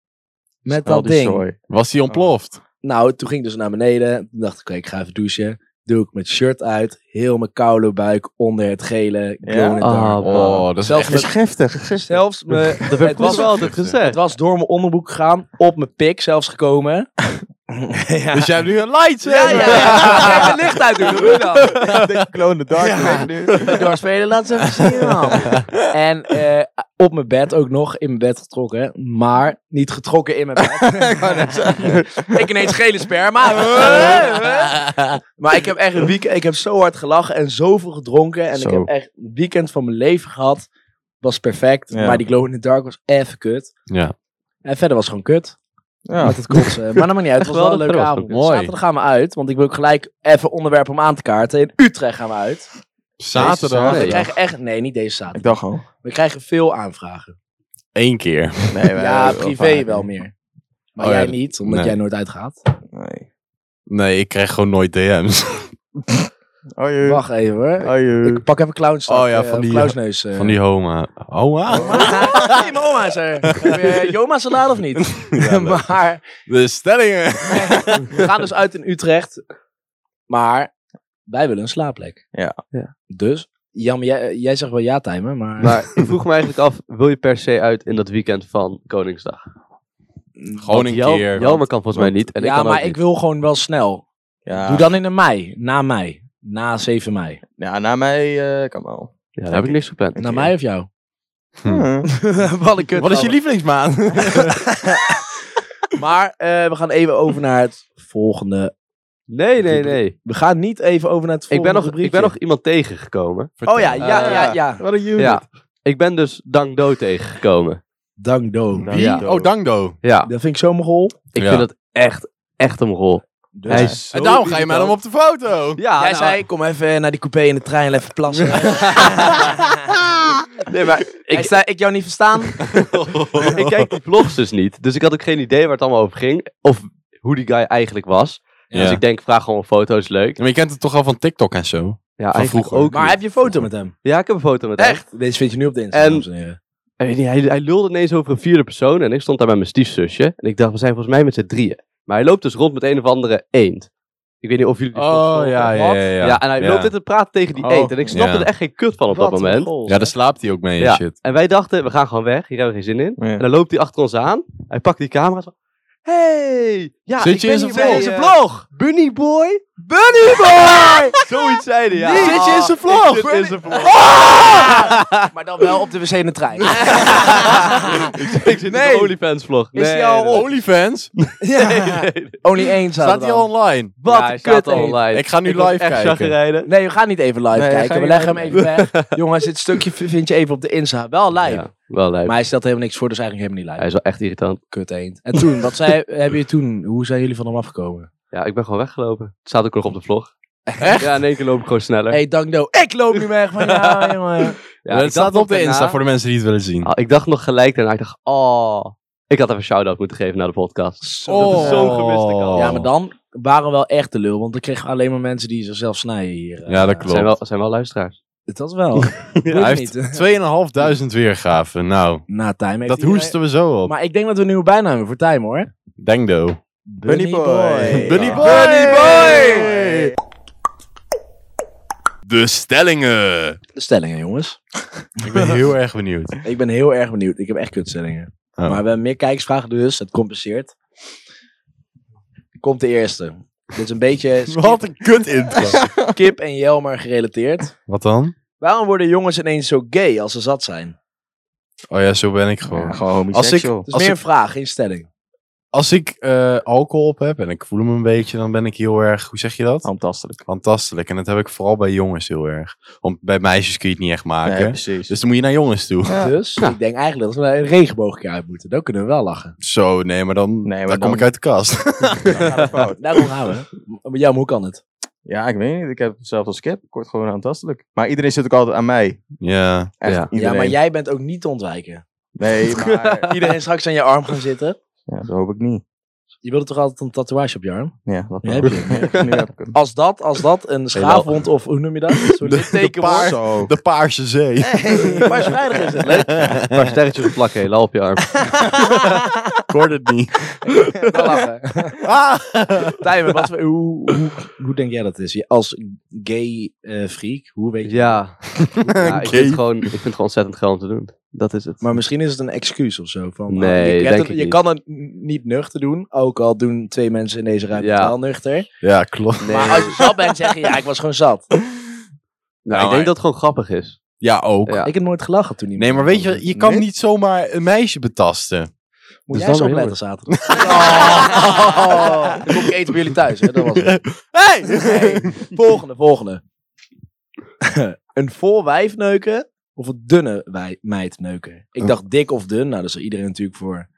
Speaker 5: met
Speaker 2: Snel
Speaker 5: dat
Speaker 2: die
Speaker 5: ding.
Speaker 2: zooi.
Speaker 1: Was die ontploft?
Speaker 5: Nou, toen ging ik dus naar beneden. Toen dacht ik, oké, ik ga even douchen. Doe ik mijn shirt uit. Heel mijn koude buik onder het gele.
Speaker 2: Ja?
Speaker 5: glow in the dark.
Speaker 6: Ah,
Speaker 1: Oh, dat is
Speaker 5: Zelfs
Speaker 1: echt...
Speaker 2: Het is giftig.
Speaker 5: Zelfs me,
Speaker 6: Dat werd
Speaker 5: het, was,
Speaker 6: was wel altijd
Speaker 5: het
Speaker 6: gezegd.
Speaker 5: was door mijn onderbroek gegaan. Op mijn pik zelfs gekomen. ja.
Speaker 1: Dus jij hebt nu een light.
Speaker 5: Ja, ja, ja. Even licht uitdoen. Hoe doe je dat?
Speaker 2: Ik kloon de dark
Speaker 5: Ja.
Speaker 2: weg nu.
Speaker 5: doorspelen, laat ze even zien. man. En eh, op mijn bed ook nog, in mijn bed getrokken. Maar niet getrokken in mijn bed. ik, ineens gele sperma. maar ik heb echt een weekend, ik heb zo hard gelachen en zoveel gedronken. En
Speaker 2: Zo.
Speaker 5: ik heb echt een weekend van mijn leven gehad. Was perfect,
Speaker 2: Ja.
Speaker 5: maar die glow in the dark was even kut.
Speaker 1: Ja.
Speaker 5: En verder was het gewoon kut.
Speaker 1: Ah.
Speaker 2: Ja.
Speaker 5: Met het kotsen. Maar dat maakt niet uit. Het was wel een
Speaker 6: Geweldig,
Speaker 5: leuke
Speaker 6: dat was
Speaker 5: avond.
Speaker 1: ook mooi.
Speaker 5: Zaterdag gaan we uit. Want ik wil ook gelijk even onderwerpen om aan te kaarten. In Utrecht gaan we uit.
Speaker 1: Zaterdag.
Speaker 5: We
Speaker 2: Nee,
Speaker 5: krijgen echt... Nee, niet deze zaterdag.
Speaker 2: Ik dacht al.
Speaker 5: We krijgen veel aanvragen.
Speaker 1: Eén keer.
Speaker 2: Nee, wij-
Speaker 5: ja,
Speaker 2: wel
Speaker 5: privé
Speaker 2: vaker.
Speaker 5: wel meer. Maar
Speaker 1: Oh ja,
Speaker 5: jij
Speaker 1: dat-
Speaker 5: niet, omdat
Speaker 1: nee.
Speaker 5: jij nooit uitgaat.
Speaker 2: Nee.
Speaker 1: Nee, ik krijg gewoon nooit DM's.
Speaker 2: Oh, je.
Speaker 5: Wacht even hoor.
Speaker 2: Oh, je.
Speaker 5: Ik pak even clownstak.
Speaker 1: Ah. Oh ja,
Speaker 5: eh,
Speaker 1: van die-
Speaker 5: clownsneus. eh.
Speaker 1: Van die homa. Oh, Homa?
Speaker 5: Nee, mijn oma is er. Heb je eh, Joma salade of niet?
Speaker 1: Ja, leuk.
Speaker 5: maar
Speaker 1: De stellingen.
Speaker 5: we gaan dus uit in Utrecht. Maar wij willen een slaapplek.
Speaker 2: Ja.
Speaker 5: Dus, Jam, jij, jij zegt wel ja, Timer, maar...
Speaker 6: Maar ik vroeg me eigenlijk af, wil je per se uit in dat weekend van Koningsdag?
Speaker 1: Gewoon een
Speaker 6: Jel-
Speaker 1: keer.
Speaker 6: Jelmer kan volgens mij niet. En ik
Speaker 5: ja,
Speaker 6: kan ook
Speaker 5: maar ik
Speaker 6: niet.
Speaker 5: wil gewoon wel snel.
Speaker 2: Ja.
Speaker 5: Doe dan in de mei. Na mei. Na 7 mei.
Speaker 2: ja, na mij eh, kan wel.
Speaker 6: Ja, daar heb ik niks gepland.
Speaker 5: Na mij of jou?
Speaker 1: Hm.
Speaker 5: Wat een kut.
Speaker 1: Wat is je lievelingsmaan?
Speaker 5: Maar eh, we gaan even over naar het volgende.
Speaker 6: Nee, nee, nee.
Speaker 5: We gaan niet even over naar het
Speaker 6: Ik
Speaker 5: volgende
Speaker 6: ben, nog, ik
Speaker 5: rubriekje.
Speaker 6: ben nog iemand tegengekomen.
Speaker 5: Oh ja, ja,
Speaker 2: Eh,
Speaker 5: ja, ja.
Speaker 2: Wat een unit.
Speaker 6: Ja. Ik ben dus Dang Do tegengekomen.
Speaker 5: Dank do.
Speaker 2: Nou,
Speaker 1: Wie?
Speaker 6: Ja.
Speaker 1: Oh, Dangdo.
Speaker 6: Ja,
Speaker 5: Dat vind ik zo'n mogol.
Speaker 6: ik
Speaker 1: Ja.
Speaker 6: vind dat echt, echt een rol.
Speaker 5: Dus-
Speaker 6: Hij is
Speaker 1: En
Speaker 6: zo
Speaker 1: daarom ga je met
Speaker 6: irritant.
Speaker 1: hem op de foto.
Speaker 6: Ja,
Speaker 5: Jij
Speaker 6: nou,
Speaker 5: zei, kom even naar die coupé in de trein en even plassen.
Speaker 6: nee, maar ik,
Speaker 5: ik, sta, ik jou niet verstaan?
Speaker 6: ik kijk die vlogs dus niet. Dus ik had ook geen idee waar het allemaal over ging. Of hoe die guy eigenlijk was.
Speaker 1: Ja.
Speaker 6: Dus ik denk, vraag gewoon foto's, leuk.
Speaker 1: Maar je kent het toch al van TikTok en zo?
Speaker 6: Ja,
Speaker 1: Van
Speaker 6: eigenlijk
Speaker 1: vroeger.
Speaker 6: ook.
Speaker 5: Maar
Speaker 6: niet.
Speaker 5: heb je een foto met hem?
Speaker 6: Ja, ik heb een foto met hem.
Speaker 5: Deze vind je nu op de Instagram,
Speaker 6: En-
Speaker 5: dames en heren.
Speaker 6: Ik weet niet, Hij, hij lulde ineens over een vierde persoon en ik stond daar met mijn stiefzusje. En ik dacht, we zijn volgens mij met z'n drieën. Maar hij loopt dus rond met een of andere eend. Ik weet niet of jullie die vlogs volgen of wat. Oh, Ja, en hij loopt dit te praten tegen die
Speaker 1: Oh.
Speaker 6: eend. En ik snapte
Speaker 1: Ja.
Speaker 6: er echt geen kut van op dat moment.
Speaker 1: Ja, daar slaapt hij ook mee en
Speaker 6: Ja.
Speaker 1: shit.
Speaker 6: En wij dachten, we gaan gewoon weg. Hier hebben we geen zin in.
Speaker 2: Ja.
Speaker 6: En dan loopt hij achter ons aan. Hij pakt die camera. Zo, hey, ja,
Speaker 1: Zit
Speaker 6: ik
Speaker 1: je
Speaker 6: ben
Speaker 1: in zijn
Speaker 6: hier
Speaker 1: vlog?
Speaker 6: bij, eh, Bunny boy? Bunny boy! Zoiets zeiden, ja.
Speaker 1: Zit je in zijn vlog?
Speaker 6: Ik zit in zijn vlog.
Speaker 5: Maar dan wel op de wc in de trein.
Speaker 6: ik zit in zijn OnlyFans vlog.
Speaker 5: Is hij al op?
Speaker 1: Oh, Onlyfans?
Speaker 5: Only één staat
Speaker 1: Staat hij al online?
Speaker 5: Wat
Speaker 6: ja, hij
Speaker 5: een
Speaker 6: staat
Speaker 5: kut
Speaker 6: al
Speaker 5: eend.
Speaker 6: online.
Speaker 1: Ik ga nu
Speaker 6: was
Speaker 1: live
Speaker 6: echt
Speaker 1: kijken.
Speaker 6: chagrijnig.
Speaker 5: Nee, we gaan niet even live
Speaker 2: Nee, ga
Speaker 5: kijken. We
Speaker 2: je
Speaker 5: leggen hem
Speaker 2: live
Speaker 5: even weg. Jongens, dit stukje v- vind je even op de Insta. Wel live.
Speaker 6: Ja, wel live.
Speaker 5: Maar hij stelt helemaal niks voor, dus eigenlijk helemaal niet
Speaker 6: Hij
Speaker 5: live.
Speaker 6: is wel echt irritant.
Speaker 5: Kut eend. En toen, wat zei, hebben je toen, hoe zijn jullie van hem afgekomen?
Speaker 6: Ja, ik ben gewoon weggelopen. Het staat ook nog op de vlog. Ja, in één keer loop ik gewoon sneller.
Speaker 5: hey, Dangdo, ik loop nu weg van jou, jongen.
Speaker 6: ja, ik
Speaker 1: het
Speaker 6: dacht
Speaker 1: staat
Speaker 6: nog
Speaker 1: op de
Speaker 6: daarna-
Speaker 1: Insta voor de mensen die het willen zien.
Speaker 6: Ah, ik dacht nog gelijk daarna, ik dacht, oh, ik had even een shout-out moeten geven naar de podcast.
Speaker 5: Oh, dat is
Speaker 6: zo'n gemiste
Speaker 1: Oh.
Speaker 6: kans.
Speaker 5: Ja, maar dan waren we wel echt de lul, want dan kregen we alleen maar mensen die zichzelf snijden hier. eh.
Speaker 1: Ja, dat
Speaker 6: Zijn
Speaker 1: klopt.
Speaker 6: wel, zijn wel luisteraars.
Speaker 5: Dat wel.
Speaker 1: Ja, hij
Speaker 5: Weet ik
Speaker 1: heeft
Speaker 5: niet.
Speaker 1: 2500 weergaven. Nou,
Speaker 5: Na time heeft
Speaker 1: dat
Speaker 5: iedereen-
Speaker 1: hoesten we zo op.
Speaker 5: Maar ik denk dat we een nieuwe bijnaam hebben voor time hoor.
Speaker 1: Dengdo.
Speaker 2: Bunny boy.
Speaker 1: Bunny boy! De stellingen.
Speaker 5: De stellingen, jongens.
Speaker 1: Ik ben heel erg benieuwd.
Speaker 5: Ik ben heel erg benieuwd. Ik heb echt kutstellingen.
Speaker 1: Oh.
Speaker 5: Maar we hebben meer kijkersvragen, dus het compenseert. Komt de eerste. Dit is een beetje
Speaker 1: Wat een kut intro.
Speaker 5: skip, Kip en Jelmer gerelateerd.
Speaker 1: Wat dan?
Speaker 5: Waarom worden jongens ineens zo gay als ze zat zijn? Het
Speaker 1: Oh ja, zo ben ik gewoon.
Speaker 2: Ja, gewoon
Speaker 1: Als ik-
Speaker 2: homosexual.
Speaker 5: is
Speaker 1: Als
Speaker 5: meer
Speaker 1: ik-
Speaker 5: een vraag, geen stelling.
Speaker 1: Als ik eh, alcohol op heb en ik voel me een beetje, dan ben ik heel erg, hoe zeg je dat?
Speaker 2: Fantastisch.
Speaker 1: Fantastelijk. En dat heb ik vooral bij jongens heel erg. Want bij meisjes kun je het niet echt maken.
Speaker 2: Nee, precies.
Speaker 1: dus dan moet je naar jongens toe.
Speaker 2: Ja.
Speaker 5: Dus ik denk eigenlijk dat we een regenboogje uit moeten. Dan kunnen we wel lachen.
Speaker 1: Zo, nee, maar dan,
Speaker 2: Nee, maar
Speaker 1: dan,
Speaker 2: dan-
Speaker 1: kom ik uit de kast.
Speaker 5: Daarom gaan we. Maar Jam, hoe kan het?
Speaker 2: Ja, ik weet niet. Ik heb zelf als skip. Ik word gewoon aantastelijk. Maar iedereen zit ook altijd aan mij.
Speaker 1: ja.
Speaker 2: Echt,
Speaker 6: Ja.
Speaker 2: iedereen.
Speaker 5: Ja, maar jij bent ook niet te ontwijken.
Speaker 2: Nee, maar...
Speaker 5: Iedereen straks aan je arm gaan zitten.
Speaker 2: ja, dat hoop ik niet.
Speaker 5: Je wilde toch altijd een tatoeage op je arm?
Speaker 2: Ja, wat
Speaker 5: Nu
Speaker 2: dan
Speaker 5: heb
Speaker 2: ook.
Speaker 5: je
Speaker 2: Nu heb ik hem.
Speaker 5: Als dat, als dat een schaafwond of hoe noem je dat? Zo'n
Speaker 1: De-
Speaker 5: littekenwond.
Speaker 1: Paars-
Speaker 2: Zo.
Speaker 1: De Paarse Zee.
Speaker 5: Hey, maar vrijdag is het. Leuk.
Speaker 6: Een paar sterretjes op plakken, helemaal op je arm.
Speaker 1: Ik hoorde het niet.
Speaker 5: Dan lachen.
Speaker 1: Ah!
Speaker 5: Tijmen, wat, we- hoe, hoe, hoe denk jij dat is? Je- Als gay eh, freak, hoe weet je
Speaker 6: Ja, ja ik, vind
Speaker 1: Gay.
Speaker 6: het gewoon, ik vind het gewoon ontzettend geil om te doen. Dat is het.
Speaker 5: Maar misschien is het een excuus of zo. Van, ah,
Speaker 6: Nee,
Speaker 5: je, hebt
Speaker 6: denk
Speaker 5: het-
Speaker 6: ik
Speaker 5: je
Speaker 6: niet.
Speaker 5: kan het n- niet nuchter doen. Ook al doen twee mensen in deze ruimte
Speaker 6: Ja.
Speaker 5: het wel nuchter.
Speaker 1: Ja, klopt.
Speaker 6: Nee.
Speaker 5: Maar als je zat bent, zeg je ja, ik was gewoon zat.
Speaker 6: nou,
Speaker 1: maar-
Speaker 6: ik denk dat het gewoon grappig is.
Speaker 1: Ja, ook.
Speaker 6: Ja.
Speaker 5: Ik heb nooit gelachen toen iemand.
Speaker 1: Nee, maar weet je, je kan
Speaker 2: Nee?
Speaker 1: niet zomaar een meisje betasten.
Speaker 5: Moet jij
Speaker 6: Dus dan
Speaker 5: zo
Speaker 6: weer
Speaker 5: opletten zaterdag? Oh. Dan kom ik eten bij jullie thuis, hè? Dat was het.
Speaker 1: Hey!
Speaker 5: Hey, volgende, volgende. een vol wijf neuken of een dunne wij- meid neuken? Ik dacht dik of dun. Nou, daar zal iedereen natuurlijk voor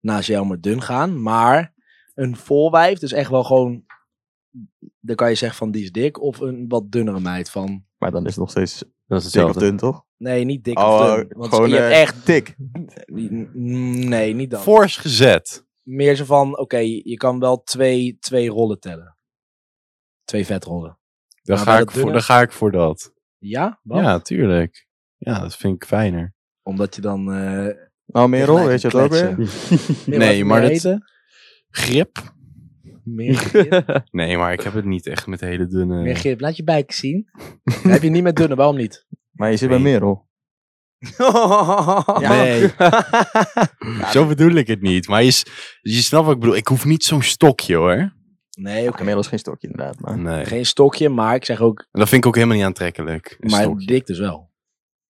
Speaker 5: naast jou maar dun gaan. Maar een vol wijf, dus echt wel gewoon... Dan kan je zeggen van die is dik. Of een wat dunnere meid van...
Speaker 2: Maar dan is het nog steeds
Speaker 6: Dat is
Speaker 2: dik of
Speaker 6: hetzelfde.
Speaker 2: dun, toch?
Speaker 5: Nee, niet dik
Speaker 2: Oh,
Speaker 5: of
Speaker 2: eh,
Speaker 5: dun. Want
Speaker 2: gewoon,
Speaker 5: je hebt
Speaker 2: eh,
Speaker 5: echt...
Speaker 2: Dik.
Speaker 5: Nee, niet dat.
Speaker 1: Fors gezet.
Speaker 5: Meer zo van, oké, je kan wel twee, twee rollen tellen. Twee vetrollen. Maar
Speaker 1: Dan, ga
Speaker 5: Nou, bij
Speaker 1: ik,
Speaker 5: dat
Speaker 1: voor,
Speaker 5: dunne-
Speaker 1: dan ga ik voor dat.
Speaker 5: Ja? Wat?
Speaker 1: Ja, tuurlijk. Ja, dat vind ik fijner.
Speaker 5: Omdat je dan... eh,
Speaker 2: Nou, Merel,
Speaker 5: tegelijk
Speaker 2: weet je
Speaker 5: kan
Speaker 2: het ook weer?
Speaker 5: kletsen. Merel,
Speaker 1: Nee,
Speaker 5: wat wil
Speaker 1: maar
Speaker 5: je
Speaker 1: dit-
Speaker 5: eten?
Speaker 1: Grip?
Speaker 5: Meer grip.
Speaker 1: Nee, maar ik heb het niet echt met hele dunne...
Speaker 5: Meer grip. Laat je buik zien. Dan heb je niet met dunne, waarom niet?
Speaker 2: Maar je zit bij
Speaker 1: Nee.
Speaker 2: Merel.
Speaker 1: Nee. Zo bedoel ik het niet. Maar je, s- je snapt wat ik bedoel. Ik hoef niet zo'n stokje hoor.
Speaker 5: Nee, oké.
Speaker 2: Merel is geen stokje inderdaad, maar...
Speaker 1: Nee.
Speaker 5: Geen stokje, maar ik zeg ook...
Speaker 1: En dat vind ik ook helemaal niet aantrekkelijk. Een
Speaker 5: maar
Speaker 1: stokje.
Speaker 5: dik dus wel.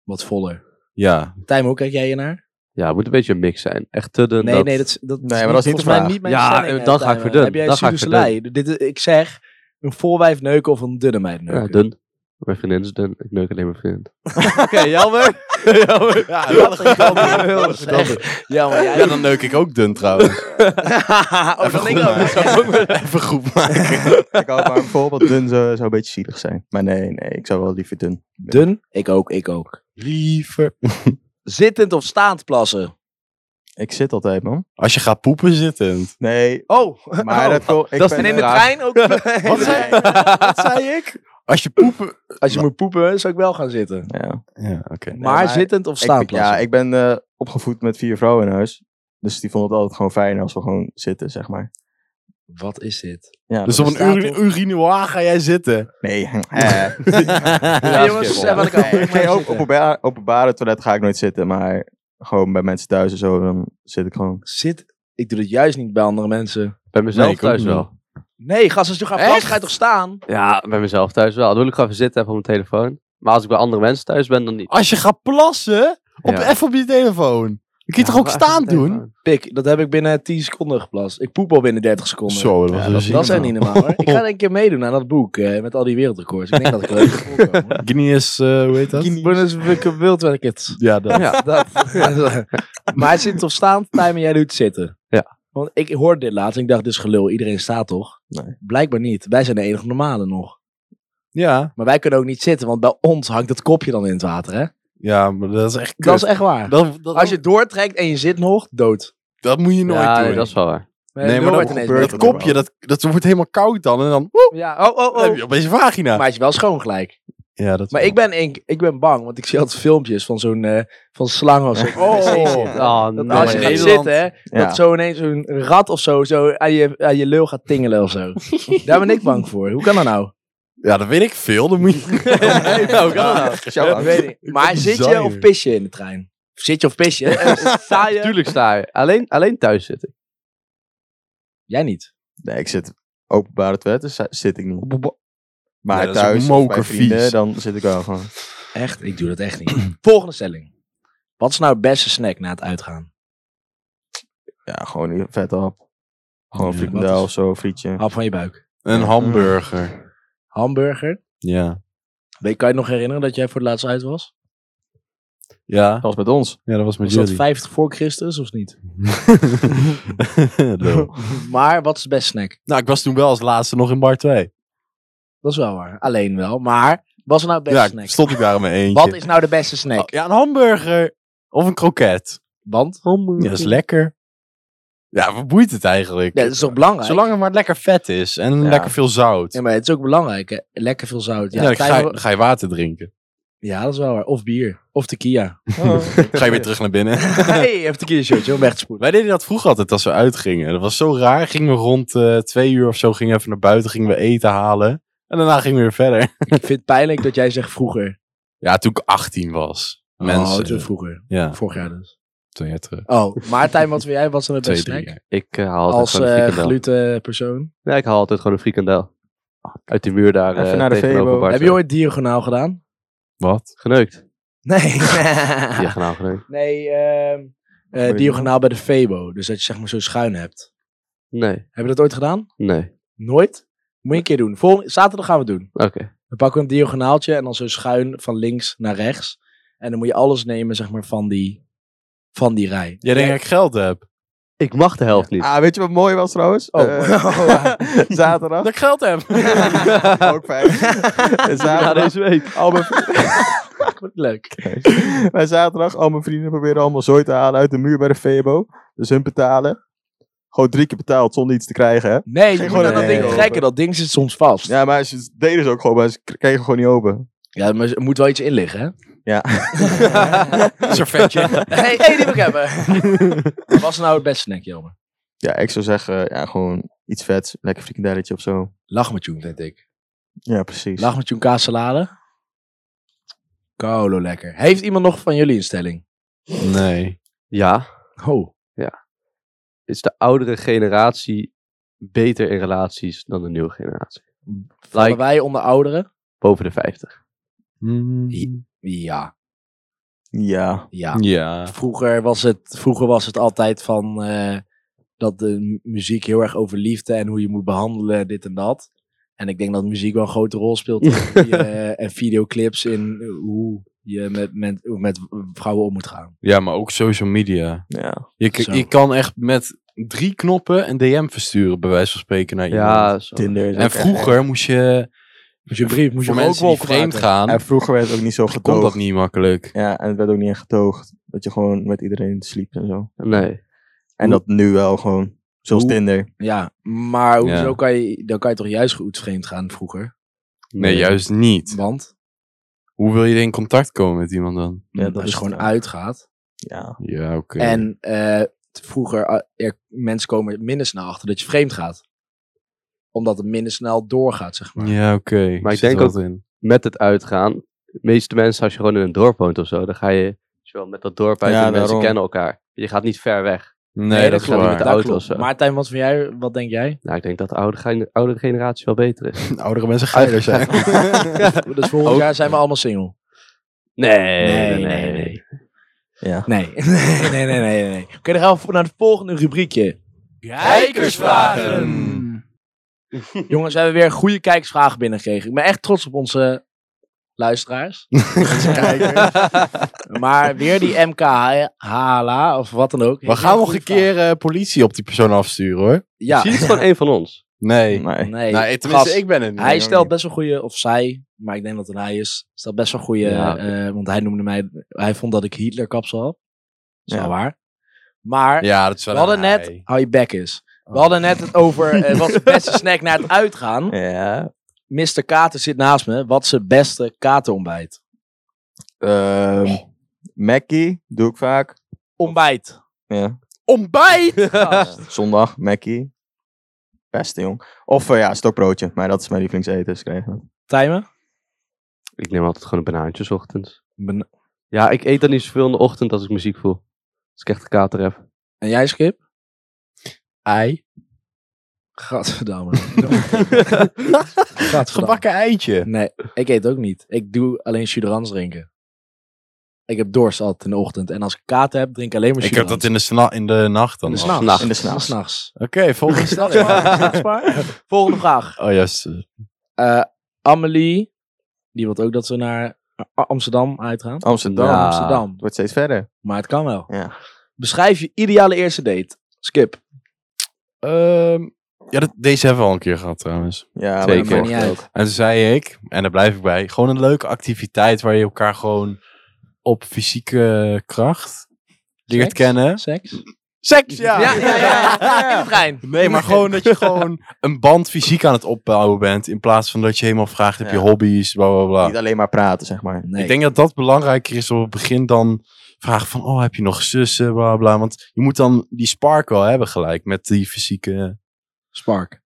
Speaker 5: Wat voller.
Speaker 1: Ja.
Speaker 5: Tijm, hoe kijk jij hiernaar?
Speaker 6: Ja, het moet een beetje een mix zijn. Echt te dun.
Speaker 5: Nee,
Speaker 6: dat-
Speaker 5: nee, dat, is- dat
Speaker 2: Nee, maar dat is niet de
Speaker 5: volgens mij
Speaker 2: vraag.
Speaker 5: niet mijn
Speaker 6: Ja,
Speaker 5: stelling,
Speaker 6: eh,
Speaker 5: hè,
Speaker 6: dan ga ik
Speaker 5: Tijmen.
Speaker 6: verdun.
Speaker 5: Heb jij
Speaker 6: Dan ga ik
Speaker 5: sudoeselij? Dit is- Ik zeg, een volwijf neuken of een dunne meid neuken.
Speaker 6: Ja, dun. Mijn vriendin is dun. Ik neuk alleen mijn vriendin.
Speaker 2: Oké, jammer.
Speaker 5: Ja, dat is heel slecht. Ja, maar jij...
Speaker 1: ja, dan neuk ik ook dun trouwens. Even goed maken. Even goed maken.
Speaker 2: ik hou maar bijvoorbeeld dun zou, zou een beetje zielig zijn. Maar nee, nee, ik zou wel liever dun.
Speaker 5: Dun? Ik ook, ik ook.
Speaker 1: Liever.
Speaker 5: Zittend of staand plassen?
Speaker 2: Ik zit altijd, man.
Speaker 1: Als je gaat poepen zittend.
Speaker 2: Nee,
Speaker 5: Oh,
Speaker 2: maar dat wil... Ik
Speaker 6: dat is
Speaker 2: ben
Speaker 6: een
Speaker 2: er-
Speaker 6: vraag.
Speaker 5: trein ook.
Speaker 1: Wat zei,
Speaker 5: Wat zei ik?
Speaker 1: als je poepen...
Speaker 5: Als je moet poepen, zou ik wel gaan zitten.
Speaker 2: Ja.
Speaker 1: Ja, oké.
Speaker 5: maar,
Speaker 2: maar
Speaker 5: zittend of
Speaker 2: Ik,
Speaker 5: staand
Speaker 2: ben- ja,
Speaker 5: plassen?
Speaker 2: ik ben eh, opgevoed met vier vrouwen in huis. Dus die vonden het altijd gewoon fijn als we gewoon zitten, zeg maar.
Speaker 5: Wat is dit?
Speaker 2: Ja,
Speaker 1: Dus
Speaker 2: dat
Speaker 1: op een
Speaker 2: bestaat
Speaker 1: uri-
Speaker 2: toch?
Speaker 1: urinoir ga jij zitten.
Speaker 2: Nee. eh.
Speaker 5: Ja, jongens,
Speaker 6: schiphol.
Speaker 5: zeg wat ik ook.
Speaker 2: Nee,
Speaker 5: Ik
Speaker 2: ik ga
Speaker 5: ook
Speaker 2: ook op openbaar, openbare toilet ga ik nooit zitten, maar gewoon bij mensen thuis en zo, dan zit ik gewoon.
Speaker 5: Zit. Ik doe het juist niet bij andere mensen.
Speaker 6: Bij mezelf
Speaker 1: Nee, ik ook
Speaker 6: thuis
Speaker 1: niet.
Speaker 6: wel.
Speaker 5: Nee, gast, als je gaat plassen, ga je toch staan?
Speaker 6: Ja, bij mezelf thuis wel. Dan wil ik gewoon even zitten, even op mijn telefoon. Maar als ik bij andere mensen thuis ben, dan niet.
Speaker 1: Als je gaat plassen, op,
Speaker 6: Ja.
Speaker 1: even op je telefoon. Dan kun je toch ook staan doen?
Speaker 5: Pik, dat heb ik binnen 10 seconden geplast. Ik poep al binnen 30 seconden.
Speaker 1: Zo, dat was
Speaker 2: Ja,
Speaker 1: een
Speaker 2: dat-
Speaker 1: zin.
Speaker 5: Dat zijn niet normaal hoor. Ik ga een keer meedoen aan dat boek eh, met al die wereldrecords. Ik denk dat ik leuk voorkomen.
Speaker 1: Guinness, eh, hoe heet dat?
Speaker 5: Bonus Wikke Wildwerkets.
Speaker 1: Ja, dat.
Speaker 6: Ja.
Speaker 5: Dat. maar het zit of staand, Tijmen, jij doet zitten.
Speaker 6: Ja.
Speaker 5: Want ik hoorde dit laatst en ik dacht, dit is gelul. Iedereen staat toch?
Speaker 2: Nee.
Speaker 5: Blijkbaar niet. Wij zijn de enige normale nog.
Speaker 1: Ja,
Speaker 5: Maar wij kunnen ook niet zitten, want bij ons hangt dat kopje dan in het water. Hè?
Speaker 1: ja, maar dat is echt kut.
Speaker 5: Dat is echt waar.
Speaker 1: Dat, dat,
Speaker 5: Als je doortrekt en je zit nog, dood.
Speaker 1: dat moet je nooit
Speaker 6: ja,
Speaker 1: doen.
Speaker 6: dat is wel waar.
Speaker 1: nee, maar
Speaker 5: Nul
Speaker 1: dat,
Speaker 5: wordt
Speaker 1: dat,
Speaker 5: ineens
Speaker 2: gebeurt
Speaker 5: beter.
Speaker 2: het.
Speaker 1: kopje, dat, dat wordt helemaal koud dan. En dan, woep,
Speaker 5: Ja, oh, oh,
Speaker 1: dan heb
Speaker 5: oh.
Speaker 1: je opeens een vagina.
Speaker 5: Maar het is wel schoon gelijk.
Speaker 1: ja, dat is
Speaker 5: Maar
Speaker 1: wel-
Speaker 5: ik ben, ik, ik ben bang, want ik zie altijd filmpjes van zo'n eh, van slangen of zo.
Speaker 1: Oh,
Speaker 6: Oh,
Speaker 5: Dat
Speaker 6: nee.
Speaker 5: als je gaat
Speaker 1: Nederland-
Speaker 5: zitten, hè,
Speaker 2: Ja.
Speaker 5: dat zo ineens zo'n rat of zo, zo aan, je, aan je lul gaat tingelen of zo. Daar ben ik bang voor. Hoe kan dat nou?
Speaker 1: Ja, dat weet ik veel. Dan moet je...
Speaker 5: Ik weet niet. Maar
Speaker 1: Bizar,
Speaker 5: zit je of
Speaker 1: joh.
Speaker 5: pis je in de trein? Of zit je of pis je? Eh, En sta je?
Speaker 6: Tuurlijk sta je. Alleen, alleen thuis zitten.
Speaker 5: Jij niet.
Speaker 2: Nee, ik zit openbare toilet, dus zit ik niet. Maar
Speaker 1: Nee, nou? dat is ook
Speaker 2: thuis of bij
Speaker 1: mokervies.
Speaker 2: vrienden, dan zit ik wel gewoon.
Speaker 5: Echt? Ik doe dat echt niet. Volgende stelling. Wat is nou het beste snack na het uitgaan?
Speaker 2: Ja, gewoon een vette hap. Gewoon
Speaker 1: Ja,
Speaker 2: frikandel
Speaker 5: wat is-
Speaker 2: of zo, frietje.
Speaker 5: Hap van je buik.
Speaker 1: Een hamburger.
Speaker 5: Hamburger.
Speaker 1: Ja.
Speaker 5: Weet, kan je nog herinneren dat jij voor het laatst uit was?
Speaker 1: Ja.
Speaker 2: Dat was met ons.
Speaker 1: ja, dat was met
Speaker 5: Was dat
Speaker 1: jullie.
Speaker 5: 50 voor Christus of niet?
Speaker 1: Lul.
Speaker 5: Maar wat is het beste snack?
Speaker 1: nou, ik was toen wel als laatste nog in bar 2.
Speaker 5: Dat is wel waar. Alleen wel. Maar was er nou het beste
Speaker 1: Ja,
Speaker 5: snack?
Speaker 1: stond ik daar in mijn eentje.
Speaker 5: Wat is nou de beste snack?
Speaker 1: Oh, ja, een hamburger. Of een kroket.
Speaker 5: Want?
Speaker 1: Ja, dat is lekker. Ja, wat boeit het eigenlijk?
Speaker 5: Ja, dat is toch belangrijk?
Speaker 1: Zolang het maar lekker vet is en
Speaker 2: Ja.
Speaker 1: lekker veel zout.
Speaker 5: Ja,
Speaker 1: Ja,
Speaker 5: maar het is ook belangrijk. hè. Lekker veel zout. Ja,
Speaker 1: dan, ga je,
Speaker 5: Tijmen-
Speaker 1: dan ga je water drinken.
Speaker 5: ja, dat is wel waar. Of bier. Of tequila.
Speaker 1: ga je weer terug naar binnen.
Speaker 5: hey, even tequila shirtje. Om weg te spoelen.
Speaker 1: Wij deden dat vroeger altijd als we uitgingen. Dat was zo raar. Gingen we rond eh, twee uur of zo gingen we even naar buiten, gingen we eten halen. En daarna gingen we weer verder.
Speaker 5: Ik vind het pijnlijk dat jij zegt vroeger.
Speaker 1: Ja, toen ik 18 was.
Speaker 5: Oh,
Speaker 1: Mensen.
Speaker 5: toen vroeger.
Speaker 1: ja,
Speaker 5: Vorig jaar dus.
Speaker 1: twee jaar terug.
Speaker 5: Oh, maar Tijmen, wat wil jij? Wat is nou de
Speaker 1: Twee,
Speaker 5: beste
Speaker 1: drie
Speaker 5: snack?
Speaker 1: jaar.
Speaker 6: Ik eh, haal altijd
Speaker 5: Als
Speaker 6: gewoon een
Speaker 5: eh
Speaker 6: frikandel.
Speaker 5: glutenpersoon.
Speaker 6: Nee, ik haal altijd gewoon een frikandel. Uit die muur daar.
Speaker 2: Even
Speaker 6: eh,
Speaker 2: naar de
Speaker 6: tegenover
Speaker 2: Febo.
Speaker 6: Bart.
Speaker 5: Heb je ooit diagonaal gedaan?
Speaker 1: Wat?
Speaker 6: Geneukt.
Speaker 5: Nee.
Speaker 6: Diagonaal geneukt.
Speaker 5: nee, ehm, eh, diagonaal bij de Febo. Dus dat je zeg maar zo schuin hebt.
Speaker 6: Nee,
Speaker 5: Heb je dat ooit gedaan?
Speaker 6: nee.
Speaker 5: Nooit? Moet je een keer doen. Volgende, zaterdag gaan we het doen.
Speaker 6: Oké.
Speaker 5: Dan pakken we een diagonaaltje en dan zo schuin van links naar rechts. En dan moet je alles nemen, zeg maar, van die, van die rij.
Speaker 1: Jij denkt dat ik geld heb.
Speaker 6: Ik mag de helft niet.
Speaker 2: Ah, weet je wat mooi was trouwens?
Speaker 5: Oh.
Speaker 2: Eh, zaterdag.
Speaker 1: Dat ik geld heb.
Speaker 2: Ook fijn.
Speaker 6: Ja,
Speaker 2: zaterdag.
Speaker 6: deze week.
Speaker 2: Al mijn, vri-
Speaker 5: Wat leuk.
Speaker 2: maar zaterdag, al mijn vrienden proberen allemaal zooi te halen uit de muur bij de Febo. Dus hun betalen. Gewoon drie keer betaald zonder iets te krijgen, hè?
Speaker 5: Nee, je
Speaker 2: Ging
Speaker 5: moet
Speaker 2: gewoon
Speaker 5: naar dat
Speaker 2: een
Speaker 5: ding
Speaker 2: ding
Speaker 5: trekken.
Speaker 2: open.
Speaker 5: Dat ding zit soms vast. Ja,
Speaker 2: Ja, maar ze deden ze ook gewoon, maar ze k- kregen gewoon niet open.
Speaker 5: maar er moet wel iets in liggen, hè?
Speaker 1: Servetje.
Speaker 5: hey, hey, die wil ik hebben. Wat was nou het beste snack, Jelmer?
Speaker 2: Ja, ik zou zeggen, ja, gewoon iets vets. Lekker frikandelletje of zo.
Speaker 5: Lachmatjoen, vind ik.
Speaker 2: Ja, precies.
Speaker 5: Lachmatjoen kaassalade. Kolo lekker. Heeft iemand nog van jullie een stelling?
Speaker 1: Nee.
Speaker 6: Ja,
Speaker 5: Oh.
Speaker 6: is de oudere generatie beter in relaties dan de nieuwe generatie?
Speaker 5: Vallen
Speaker 6: Like,
Speaker 5: wij onder ouderen?
Speaker 6: boven de 50.
Speaker 1: Hmm.
Speaker 5: Ja,
Speaker 2: Ja.
Speaker 5: ja.
Speaker 1: Ja.
Speaker 5: Vroeger was het, vroeger was het altijd van eh, dat de mu- muziek heel erg over liefde en hoe je moet behandelen, dit en dat. En ik denk dat muziek wel een grote rol speelt. in hoe je, eh, en videoclips in eh, hoe je met, met, met vrouwen om moet gaan.
Speaker 1: Ja, maar ook social media.
Speaker 2: Ja.
Speaker 1: Je, k-
Speaker 5: Zo.
Speaker 1: je kan echt met drie knoppen een DM versturen, bij wijze van spreken, naar iemand.
Speaker 6: Ja, zo.
Speaker 2: Tinder is
Speaker 1: En
Speaker 2: ook echt-
Speaker 1: vroeger moest je,
Speaker 5: Moet je brief, moet
Speaker 1: voor mensen die vreemd gaan,
Speaker 2: En vroeger werd het ook niet zo
Speaker 1: kon dat
Speaker 2: getoogd.
Speaker 1: niet makkelijk.
Speaker 2: Ja, en het werd ook niet echt getoogd. Dat je gewoon met iedereen sliep en zo.
Speaker 6: Nee.
Speaker 2: En dat nu wel gewoon. Zoals
Speaker 5: Hoe-
Speaker 2: Tinder.
Speaker 5: Ja, maar hoezo
Speaker 1: Ja.
Speaker 5: kan je, dan kan je toch juist goed vreemd gaan vroeger?
Speaker 1: Nee, juist niet.
Speaker 5: Want
Speaker 1: Hoe wil je in contact komen met iemand dan?
Speaker 2: Ja, dat
Speaker 5: dat
Speaker 2: is
Speaker 5: is gewoon
Speaker 2: het.
Speaker 5: uitgaat.
Speaker 2: Ja.
Speaker 1: Ja, oké.
Speaker 5: En eh, t- vroeger, eh, er, mensen komen er minder snel achter dat je vreemd gaat. Omdat het minder snel doorgaat, zeg maar.
Speaker 1: Ja, oké.
Speaker 6: Maar ik
Speaker 1: Zit er
Speaker 6: denk ook-
Speaker 1: wat in.
Speaker 6: Met het uitgaan. De meeste mensen, als je gewoon in een dorp woont of zo, dan ga je weet je wel, met dat dorp uit
Speaker 2: Ja,
Speaker 6: en de mensen
Speaker 2: daarom.
Speaker 6: kennen elkaar. Je gaat niet ver weg.
Speaker 1: Nee,
Speaker 6: dat
Speaker 1: dat is
Speaker 6: gaat niet
Speaker 1: waar.
Speaker 6: met de
Speaker 5: Dat
Speaker 6: auto
Speaker 5: klopt.
Speaker 6: of zo.
Speaker 5: Martijn, wat, vind jij, wat denk jij?
Speaker 6: Nou, ik denk dat de oude, gen- oudere generatie wel beter is.
Speaker 1: Oudere mensen geiler zijn.
Speaker 5: Dus volgend
Speaker 6: Ook-
Speaker 5: jaar zijn we allemaal single.
Speaker 6: Nee,
Speaker 5: Nee, nee, nee.
Speaker 2: Ja.
Speaker 5: Nee, nee, nee, nee. nee, nee. Oké, dan gaan we voor- naar het volgende rubriekje. Hmm.
Speaker 1: Kijkersvragen!
Speaker 5: Jongens, we hebben weer goede kijkersvragen binnengekregen. Ik ben echt trots op onze luisteraars. maar weer die MK Hala of wat dan ook.
Speaker 1: We gaan nog een keer eh, politie op die persoon afsturen, hoor.
Speaker 5: Ja,
Speaker 6: Zie het gewoon een van ons.
Speaker 1: Nee.
Speaker 2: Nee.
Speaker 5: nee.
Speaker 1: nou, tenminste,
Speaker 5: gast.
Speaker 1: ik ben het niet.
Speaker 5: hij stelt best wel goede, of zij, maar ik denk dat het een hij is, stelt best wel goede,
Speaker 6: Ja.
Speaker 5: eh, want hij noemde mij, hij vond dat ik Hitler kapsel had. Dat is
Speaker 2: Ja.
Speaker 5: wel waar. Maar
Speaker 1: Ja, dat is wel
Speaker 5: we hadden
Speaker 1: een
Speaker 5: net,
Speaker 1: hij.
Speaker 5: hou je bek eens, we hadden net het over eh, wat is de beste snack naar het uitgaan.
Speaker 2: Ja.
Speaker 5: Mr. Kater zit naast me, wat is het beste katerontbijt?
Speaker 2: Ehm, Mackie doe ik vaak.
Speaker 5: Ontbijt.
Speaker 2: Ja.
Speaker 5: Ontbijt?
Speaker 2: Ah.
Speaker 5: Gast.
Speaker 2: Zondag, Mackie. Beste jong. Of eh, ja, stokbroodje. Maar dat is mijn lievelingseten. Dus ik krijg dat.
Speaker 5: Timer?
Speaker 6: Ik neem altijd gewoon een banaantje 's ochtends.
Speaker 5: Ben-
Speaker 6: Ja, ik eet dan niet zoveel in de ochtend als ik muziek voel. Als ik echt een kater heb.
Speaker 5: En jij, Skip? Ei. Gadverdamme. Gadverdamme.
Speaker 1: Gebakken eitje.
Speaker 5: Nee, ik eet ook niet. Ik doe alleen chuderans drinken. Ik heb dorst altijd in de ochtend. En als ik kater heb, drink ik alleen maar
Speaker 1: Ik heb
Speaker 5: chuderans.
Speaker 1: dat in de, sna- in de nacht dan.
Speaker 5: in de
Speaker 1: al.
Speaker 5: s'nachts.
Speaker 6: nachts.
Speaker 2: In de
Speaker 5: In de
Speaker 2: s'nachts.
Speaker 5: s'nachts.
Speaker 1: Oké, volgende stelling.
Speaker 5: Volgende vraag.
Speaker 1: Oh, juist.
Speaker 5: Eh, Amelie, die wil ook dat we naar A- Amsterdam uitgaan.
Speaker 2: Amsterdam.
Speaker 6: Ja.
Speaker 5: Amsterdam.
Speaker 2: Het wordt steeds verder.
Speaker 5: Maar het kan wel.
Speaker 2: Ja.
Speaker 5: Beschrijf je ideale eerste date. Skip.
Speaker 1: Ehm, ja, dat, deze hebben we al een keer gehad trouwens.
Speaker 2: Ja, maar
Speaker 6: Zeker.
Speaker 2: dat mag
Speaker 5: Maakt niet
Speaker 2: ook.
Speaker 5: uit.
Speaker 1: En toen zei ik, en daar blijf ik bij, gewoon een leuke activiteit waar je elkaar gewoon op fysieke kracht leert
Speaker 5: Seks?
Speaker 1: kennen.
Speaker 5: Seks?
Speaker 1: Seks, ja!
Speaker 5: Ja, ja, ja. ja. In de trein.
Speaker 1: Nee, maar gewoon dat je gewoon een band fysiek aan het opbouwen bent. In plaats van dat je helemaal vraagt, heb je
Speaker 2: Ja.
Speaker 1: hobby's, bla bla bla.
Speaker 2: Niet alleen maar praten, zeg maar.
Speaker 5: Nee.
Speaker 1: Ik denk dat dat belangrijker is op het begin dan vragen van, oh, heb je nog zussen, bla bla. Want je moet dan die spark wel hebben gelijk met die fysieke...
Speaker 5: Spark.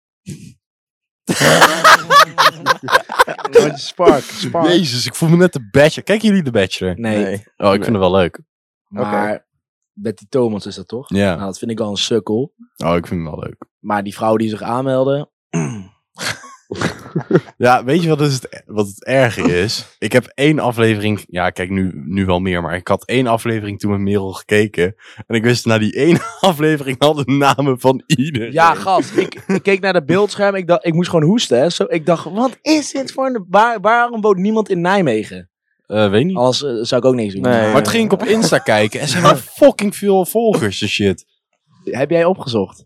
Speaker 5: Roger Spark. Spark.
Speaker 1: Jezus, ik voel me net de Bachelor. Kijken jullie de Bachelor?
Speaker 5: Nee,
Speaker 1: Oh, ik vind het wel leuk.
Speaker 5: maar Betty Thomas is dat toch?
Speaker 1: Ja.
Speaker 5: Nou, dat vind ik al een sukkel.
Speaker 1: Oh, ik vind hem wel leuk.
Speaker 5: Maar die vrouw die zich aanmeldde...
Speaker 1: Ja, weet je wat, is het, wat het erge is? Ik heb één aflevering... Ja, kijk, nu, nu wel meer. Maar ik had één aflevering toen met Merel gekeken. En ik wist na die ene aflevering al de namen van iedereen.
Speaker 5: Ja, gast. Ik, ik keek naar dat beeldscherm. Ik, dacht, ik moest gewoon hoesten. Hè. Zo, ik dacht, wat is dit voor een... Waar, waarom woont niemand in Nijmegen?
Speaker 1: Eh, weet niet.
Speaker 5: Anders eh, zou ik ook niks doen.
Speaker 2: Nee.
Speaker 1: Maar het ging ik op Insta kijken. En ze hebben fucking veel volgers en shit.
Speaker 5: Heb jij opgezocht?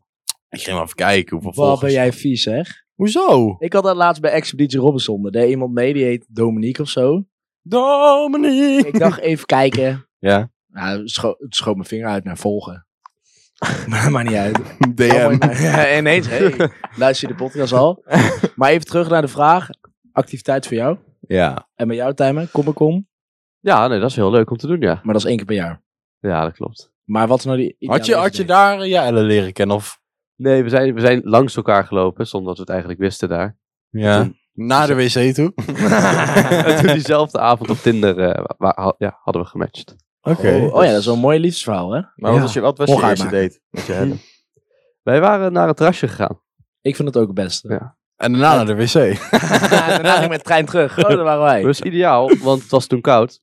Speaker 1: Ik ging maar even kijken hoeveel
Speaker 5: Wat ben
Speaker 1: volgers.
Speaker 5: jij vies, zeg.
Speaker 1: Hoezo?
Speaker 5: Ik had dat laatst bij Expeditie Robinson. Er deed iemand mee, die heet Dominique of zo.
Speaker 1: Dominique.
Speaker 5: Ik dacht, even kijken.
Speaker 1: Ja.
Speaker 5: Nou, het scho- het schoot mijn vinger uit naar volgen. maar maakt niet uit.
Speaker 1: DM.
Speaker 5: Ja, ineens, hey, luister je de podcast al. maar even terug naar de vraag. Activiteit voor jou.
Speaker 1: Ja.
Speaker 5: En bij jou, Timer, kom ik om.
Speaker 6: Ja, nee, dat is heel leuk om te doen, ja.
Speaker 5: Maar dat is één keer per jaar.
Speaker 6: Ja, dat klopt.
Speaker 5: Maar wat is nou die...
Speaker 1: Had je,
Speaker 5: ideale
Speaker 1: had je
Speaker 5: leeftijd?
Speaker 1: daar eh, Jelle leren kennen of...
Speaker 6: Nee, we zijn, we zijn langs elkaar gelopen, zonder dat we het eigenlijk wisten daar.
Speaker 1: Ja. Naar de wc toe.
Speaker 6: en toen diezelfde avond op Tinder eh, wa- wa- ja, hadden we gematcht.
Speaker 1: Oké.
Speaker 5: Oh, oh ja, dat is wel een mooi liefdesverhaal, hè?
Speaker 2: Maar wat was je, wat was je
Speaker 5: Mocht
Speaker 2: eerste
Speaker 5: uitmaken.
Speaker 2: date? Met je hebben?
Speaker 6: Wij waren naar het terrasje gegaan.
Speaker 5: Ik vind het ook het beste.
Speaker 6: Ja.
Speaker 1: En daarna naar de wc.
Speaker 5: daarna ging ik met de trein terug. Oh, daar waren
Speaker 6: Dat
Speaker 5: wij.
Speaker 6: was ideaal, want het was toen koud.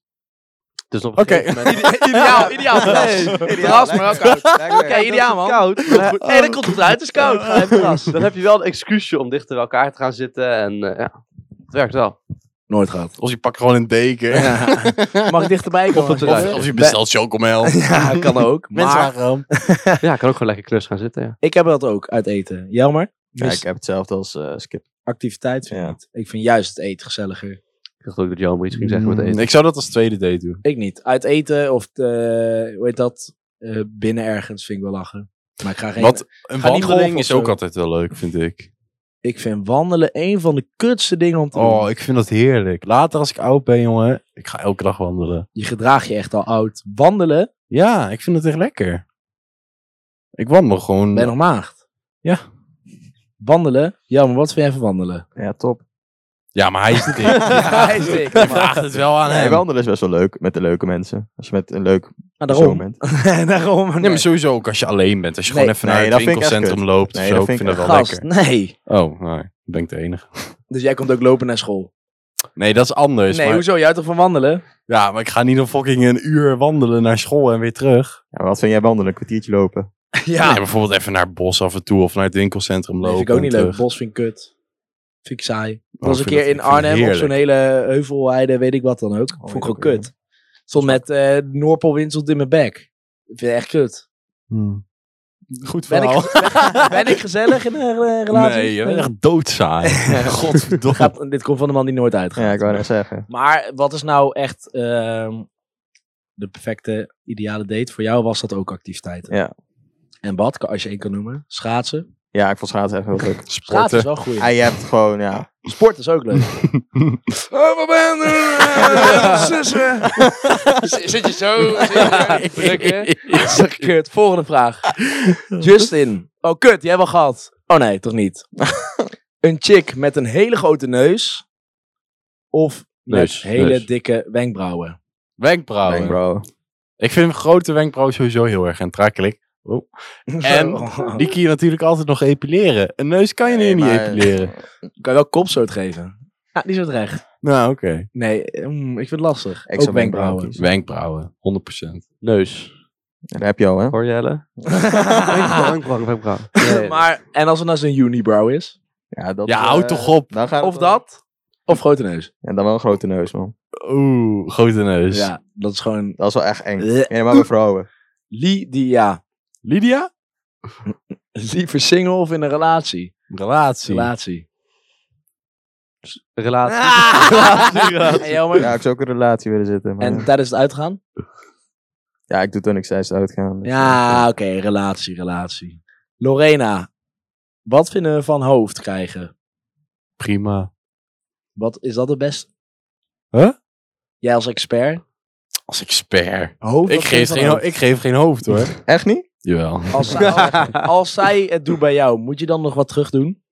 Speaker 6: Dus op een
Speaker 1: Oké.
Speaker 6: gegeven moment-
Speaker 5: Ideaal, ideaal.
Speaker 2: Terras, maar wel koud.
Speaker 5: Oké, ideaal, man.
Speaker 6: koud. maar
Speaker 5: Hé, dat komt goed uit. Het is koud. Ga even terras.
Speaker 6: dan heb je wel een excuusje om dichter bij elkaar te gaan zitten. En eh, ja, het werkt wel.
Speaker 5: Nooit gehad.
Speaker 1: Of je pakt gewoon een deken.
Speaker 5: Mag ik dichterbij komen?
Speaker 6: het
Speaker 1: Of, of je bestelt chocomel.
Speaker 5: Ja, kan ook. Maar
Speaker 6: Ja, ik kan ook gewoon lekker knus gaan zitten. Ja.
Speaker 5: ik heb dat ook uit eten. Jelmer?
Speaker 2: Ja,
Speaker 5: Mis-
Speaker 2: ik heb hetzelfde als eh, Skip.
Speaker 5: Activiteit vind ik
Speaker 2: Ja.
Speaker 5: niet. Ik vind juist het eten gezelliger.
Speaker 6: Ik dacht ook dat Jelmer iets ging zeggen
Speaker 5: Mm,
Speaker 6: met eten.
Speaker 1: Mm. Ik zou dat als tweede date doen.
Speaker 5: Ik niet. Uit eten of, eh, hoe heet dat, Eh, binnen ergens vind ik wel lachen. Maar ik ga geen...
Speaker 1: Want een
Speaker 5: Ga niet golven
Speaker 1: wandeling
Speaker 5: of
Speaker 1: is
Speaker 5: zo.
Speaker 1: ook altijd wel leuk, vind ik.
Speaker 5: Ik vind wandelen een van de kutste dingen om te doen.
Speaker 1: Oh, ik vind dat heerlijk. Later als ik oud ben, jongen. Ik ga elke dag wandelen.
Speaker 5: Je gedraagt je echt al oud. Wandelen,
Speaker 1: Ja, ik vind het echt lekker. Ik wandel gewoon.
Speaker 5: ben je nog maagd.
Speaker 1: Ja.
Speaker 5: Wandelen? Jelmer, wat vind jij van wandelen?
Speaker 2: Ja, top.
Speaker 1: Ja, maar hij is dik. ja,
Speaker 5: hij is dik,
Speaker 1: Je
Speaker 5: man.
Speaker 1: vraagt het wel aan
Speaker 2: Nee,
Speaker 1: hem.
Speaker 2: wandelen is best wel leuk met de leuke mensen. Als je met een leuk
Speaker 5: Nou,
Speaker 2: persoon
Speaker 5: daarom.
Speaker 2: bent.
Speaker 5: daarom. Nee,
Speaker 1: Nee, maar sowieso ook als je alleen bent. Als je
Speaker 5: Nee,
Speaker 1: gewoon even
Speaker 2: nee,
Speaker 1: naar het
Speaker 2: dat vind ik echt
Speaker 1: winkelcentrum
Speaker 2: kut.
Speaker 1: loopt.
Speaker 2: Nee,
Speaker 1: of zo,
Speaker 2: dat
Speaker 1: ik
Speaker 2: vind
Speaker 1: vind
Speaker 2: ik
Speaker 1: dat wel
Speaker 5: Gast,
Speaker 1: lekker.
Speaker 5: nee.
Speaker 1: Oh, nou, ik ben ik de enige.
Speaker 5: Dus jij komt ook lopen naar school?
Speaker 1: Nee, dat is anders.
Speaker 5: nee,
Speaker 1: maar,
Speaker 5: hoezo? Jij houdt toch van wandelen?
Speaker 1: Ja, maar ik ga niet een fucking een uur wandelen naar school en weer terug.
Speaker 2: Ja, maar wat vind jij wandelen? Een kwartiertje lopen.
Speaker 1: Ja. bijvoorbeeld even naar het bos af en toe of naar het winkelcentrum
Speaker 5: Nee,
Speaker 1: lopen.
Speaker 5: vind ik ook
Speaker 1: en
Speaker 5: niet leuk.
Speaker 1: terug.
Speaker 5: Bos vind ik kut. Vind ik saai. Ik
Speaker 1: Oh,
Speaker 5: was een
Speaker 1: ik vind
Speaker 5: keer
Speaker 1: dat-
Speaker 5: in
Speaker 1: ik vind het
Speaker 5: Arnhem op
Speaker 1: heerlijk.
Speaker 5: zo'n hele heuvelheide, weet ik wat dan ook. Vond ik
Speaker 2: ja,
Speaker 5: gewoon
Speaker 2: oké.
Speaker 5: kut. Stond met eh Noordpoolwindsel in mijn bek. Ik vind het echt kut.
Speaker 1: Hmm. Goed
Speaker 5: Ben ik,
Speaker 1: verhaal.
Speaker 5: ben ik gezellig in een eh, relatie?
Speaker 1: Nee, je bent echt doodsaai. Godverdomme.
Speaker 5: Gaat, dit komt van de man die nooit uitgaat.
Speaker 2: Ja, ik wou net zeggen.
Speaker 5: Maar wat is nou echt ehm, de perfecte ideale date? Voor jou was dat ook activiteiten.
Speaker 2: Ja.
Speaker 5: En wat, als je één kan noemen? Schaatsen.
Speaker 2: Ja, ik vond schaatsen echt heel leuk.
Speaker 5: Schaatsen is
Speaker 1: Sporten.
Speaker 5: wel goed.
Speaker 2: En je hebt gewoon, ja.
Speaker 5: Sport is ook leuk.
Speaker 4: Zit je zo? Zit je zo? Druk je?
Speaker 5: Kut, volgende vraag. Justin. Oh, kut, jij wel gehad. Oh nee, toch niet. een chick met een hele grote neus. Of met
Speaker 6: Neus,
Speaker 5: hele
Speaker 6: neus.
Speaker 5: dikke wenkbrauwen.
Speaker 1: Wenkbrauwen.
Speaker 2: bro.
Speaker 1: Ik vind grote wenkbrauwen sowieso heel erg aantrekkelijk. En die kun je natuurlijk altijd nog epileren. Een neus kan je
Speaker 2: Nee,
Speaker 1: niet
Speaker 2: maar-
Speaker 1: epileren.
Speaker 5: Kan je wel kopstoot geven? Ja, die is wat recht.
Speaker 1: Nou, oké.
Speaker 5: Nee, mm, ik vind het lastig.
Speaker 2: Ik
Speaker 5: ook
Speaker 2: zou wenkbrauwen
Speaker 5: wenkbrauwen.
Speaker 2: kiezen.
Speaker 1: Wenkbrauwen, 100%.
Speaker 6: Neus.
Speaker 2: Ja, daar heb je al, hè?
Speaker 6: Hoor Jelle? Wenkbrauw, wenkbrauw. Nee.
Speaker 5: Ah. Maar, en als het nou zo'n unibrow is?
Speaker 2: Ja, dat,
Speaker 1: Ja,
Speaker 2: eh,
Speaker 1: houd toch op.
Speaker 2: Dan gaat
Speaker 5: Of
Speaker 2: dat?
Speaker 5: dat? Of grote neus?
Speaker 2: En dan wel een grote neus, man.
Speaker 1: Oeh, grote neus.
Speaker 5: nou- Ja, dat is gewoon...
Speaker 2: Dat is wel echt eng.
Speaker 5: Bleh.
Speaker 2: Helemaal bij vrouwen.
Speaker 5: Lydia.
Speaker 1: Lydia?
Speaker 5: Liever single of in een relatie?
Speaker 1: Relatie.
Speaker 5: Relatie.
Speaker 6: Relatie.
Speaker 5: Ah! En jammer.
Speaker 2: Ja, ik zou ook in een relatie willen zitten. Maar
Speaker 5: En tijdens het uitgaan?
Speaker 2: Ja, ik doe toen ik zei ze uitgaan. Dus,
Speaker 5: Ja, oké, relatie, relatie. Lorena, wat vinden we van hoofd krijgen?
Speaker 1: Prima.
Speaker 5: Wat is dat het beste?
Speaker 1: Huh?
Speaker 5: Jij als expert?
Speaker 1: Als expert.
Speaker 5: Hoofd,
Speaker 1: Ik
Speaker 5: wat Oh, vind
Speaker 1: geef,
Speaker 5: je van
Speaker 1: geen, ho-
Speaker 5: hoofd?
Speaker 1: ik geef geen hoofd hoor.
Speaker 2: eh, Echt niet?
Speaker 1: Jawel.
Speaker 5: Als, zij- als, als zij het doet bij jou, moet je dan nog wat terug doen?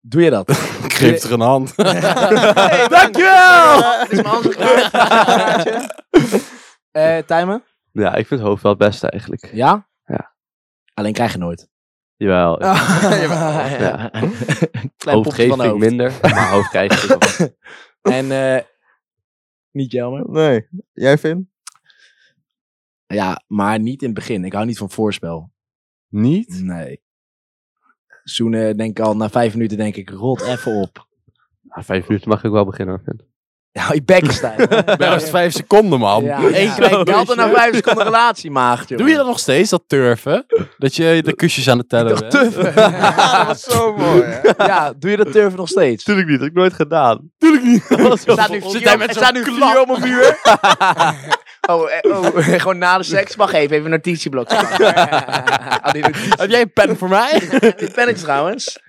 Speaker 5: Doe je dat?
Speaker 1: Ik geef er een hand.
Speaker 5: hey, dankjewel! Dit is mijn antwoord. Eh, Tijmen?
Speaker 6: Ja, ik vind hoofd wel het beste eigenlijk.
Speaker 5: Ja?
Speaker 6: Ja.
Speaker 5: Alleen krijg je nooit.
Speaker 6: Jawel.
Speaker 5: ja. Ah, Klein
Speaker 6: Hoofd
Speaker 5: popje
Speaker 6: geef
Speaker 5: van
Speaker 6: ik
Speaker 5: hoofd.
Speaker 6: minder, maar hoofd krijg ik wel.
Speaker 5: En eh, niet jammer.
Speaker 2: Nee. Jij, Vin?
Speaker 5: Ja, maar niet in het begin. Ik hou niet van voorspel.
Speaker 1: Niet?
Speaker 5: Nee. Zoenen denk ik al, na vijf minuten denk ik, rot even op.
Speaker 6: Na vijf minuten mag ik wel beginnen. hoor.
Speaker 5: Ja, je bek is daar.
Speaker 1: Bij ons vijf seconden man.
Speaker 5: Ja,
Speaker 1: Eén
Speaker 5: ja.
Speaker 1: klein
Speaker 5: Je had er
Speaker 1: kusje.
Speaker 5: na vijf seconden relatie maagd, joh.
Speaker 1: Doe je dat nog steeds, dat turven? Dat je de kusjes aan het tellen bent?
Speaker 2: dat was zo mooi, hè?
Speaker 5: Ja, doe je dat turven nog steeds? Er
Speaker 6: Tuurlijk niet, heb ik nooit gedaan.
Speaker 1: Tuurlijk niet.
Speaker 5: Oh, staat nu
Speaker 1: Zit
Speaker 5: vier
Speaker 1: hij
Speaker 5: op-
Speaker 1: met
Speaker 5: er
Speaker 1: zo'n
Speaker 5: staat nu vier op mijn buur.
Speaker 3: Oh, eh, oh, gewoon na de seks. Wacht even, even een notitieblok. Ah, die notitie-
Speaker 1: Heb jij een pen voor mij?
Speaker 3: Dit pennetje trouwens.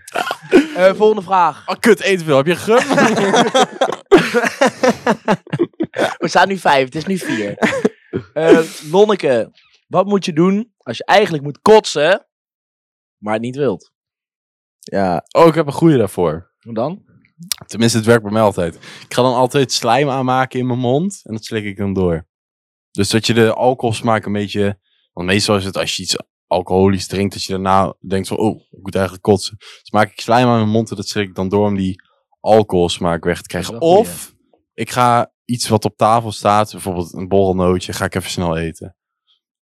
Speaker 3: Eh, volgende vraag.
Speaker 1: Oh, kut, eten veel. Heb je gum?
Speaker 3: We staan nu vijf, het is nu vier. Eh Lonneke, wat moet je doen als je eigenlijk moet kotsen, maar het niet wilt?
Speaker 2: Ja,
Speaker 1: Oh, ik heb een goede daarvoor.
Speaker 3: Hoe dan?
Speaker 1: Tenminste, het werkt bij mij altijd. Ik ga dan altijd slijm aanmaken in mijn mond en dat slik ik dan door. Dus dat je de alcoholsmaak een beetje... Want meestal is het als je iets alcoholisch drinkt, dat je daarna denkt van... Oh, ik moet eigenlijk kotsen. Dus maak ik slijm aan mijn mond en dat slik ik dan door om die alcoholsmaak weg te krijgen.
Speaker 5: Dat is wel goed,
Speaker 1: Of ik ga iets wat op tafel staat, bijvoorbeeld een borrelnootje, ga ik even snel eten.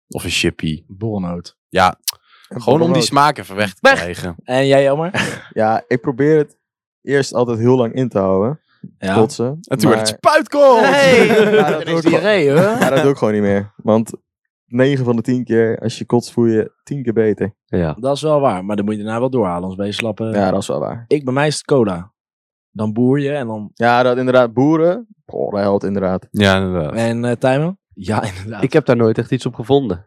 Speaker 1: Of een chippy.
Speaker 5: Bornoot.
Speaker 1: Ja, gewoon om die
Speaker 2: borrelnoot.
Speaker 1: smaak even weg te
Speaker 3: Weg!
Speaker 1: krijgen.
Speaker 5: En jij, jammer?
Speaker 2: ja, ik probeer het eerst altijd heel lang in te houden.
Speaker 5: Ja.
Speaker 2: Kotsen.
Speaker 1: En toen werd
Speaker 2: maar-
Speaker 1: het spuitkool!
Speaker 3: Hey,
Speaker 2: Ja, dat
Speaker 3: er is
Speaker 2: doe ik wel.
Speaker 3: diarree hoor.
Speaker 2: Ja, dat doe ik gewoon niet meer. Want 9 van de 10 keer, als je kotst, voel je 10 keer beter.
Speaker 6: Ja.
Speaker 5: Dat is wel waar, maar dan moet je daarna wel doorhalen, anders ben je slappen.
Speaker 2: Ja, dat is wel waar.
Speaker 5: Ik, bij mij is het cola. Dan boer je en dan...
Speaker 2: Ja, dat inderdaad. Boeren, oh, dat helpt inderdaad.
Speaker 1: Ja, inderdaad.
Speaker 5: En eh Tijmen? Ja, inderdaad.
Speaker 6: Ik heb daar nooit echt iets op gevonden.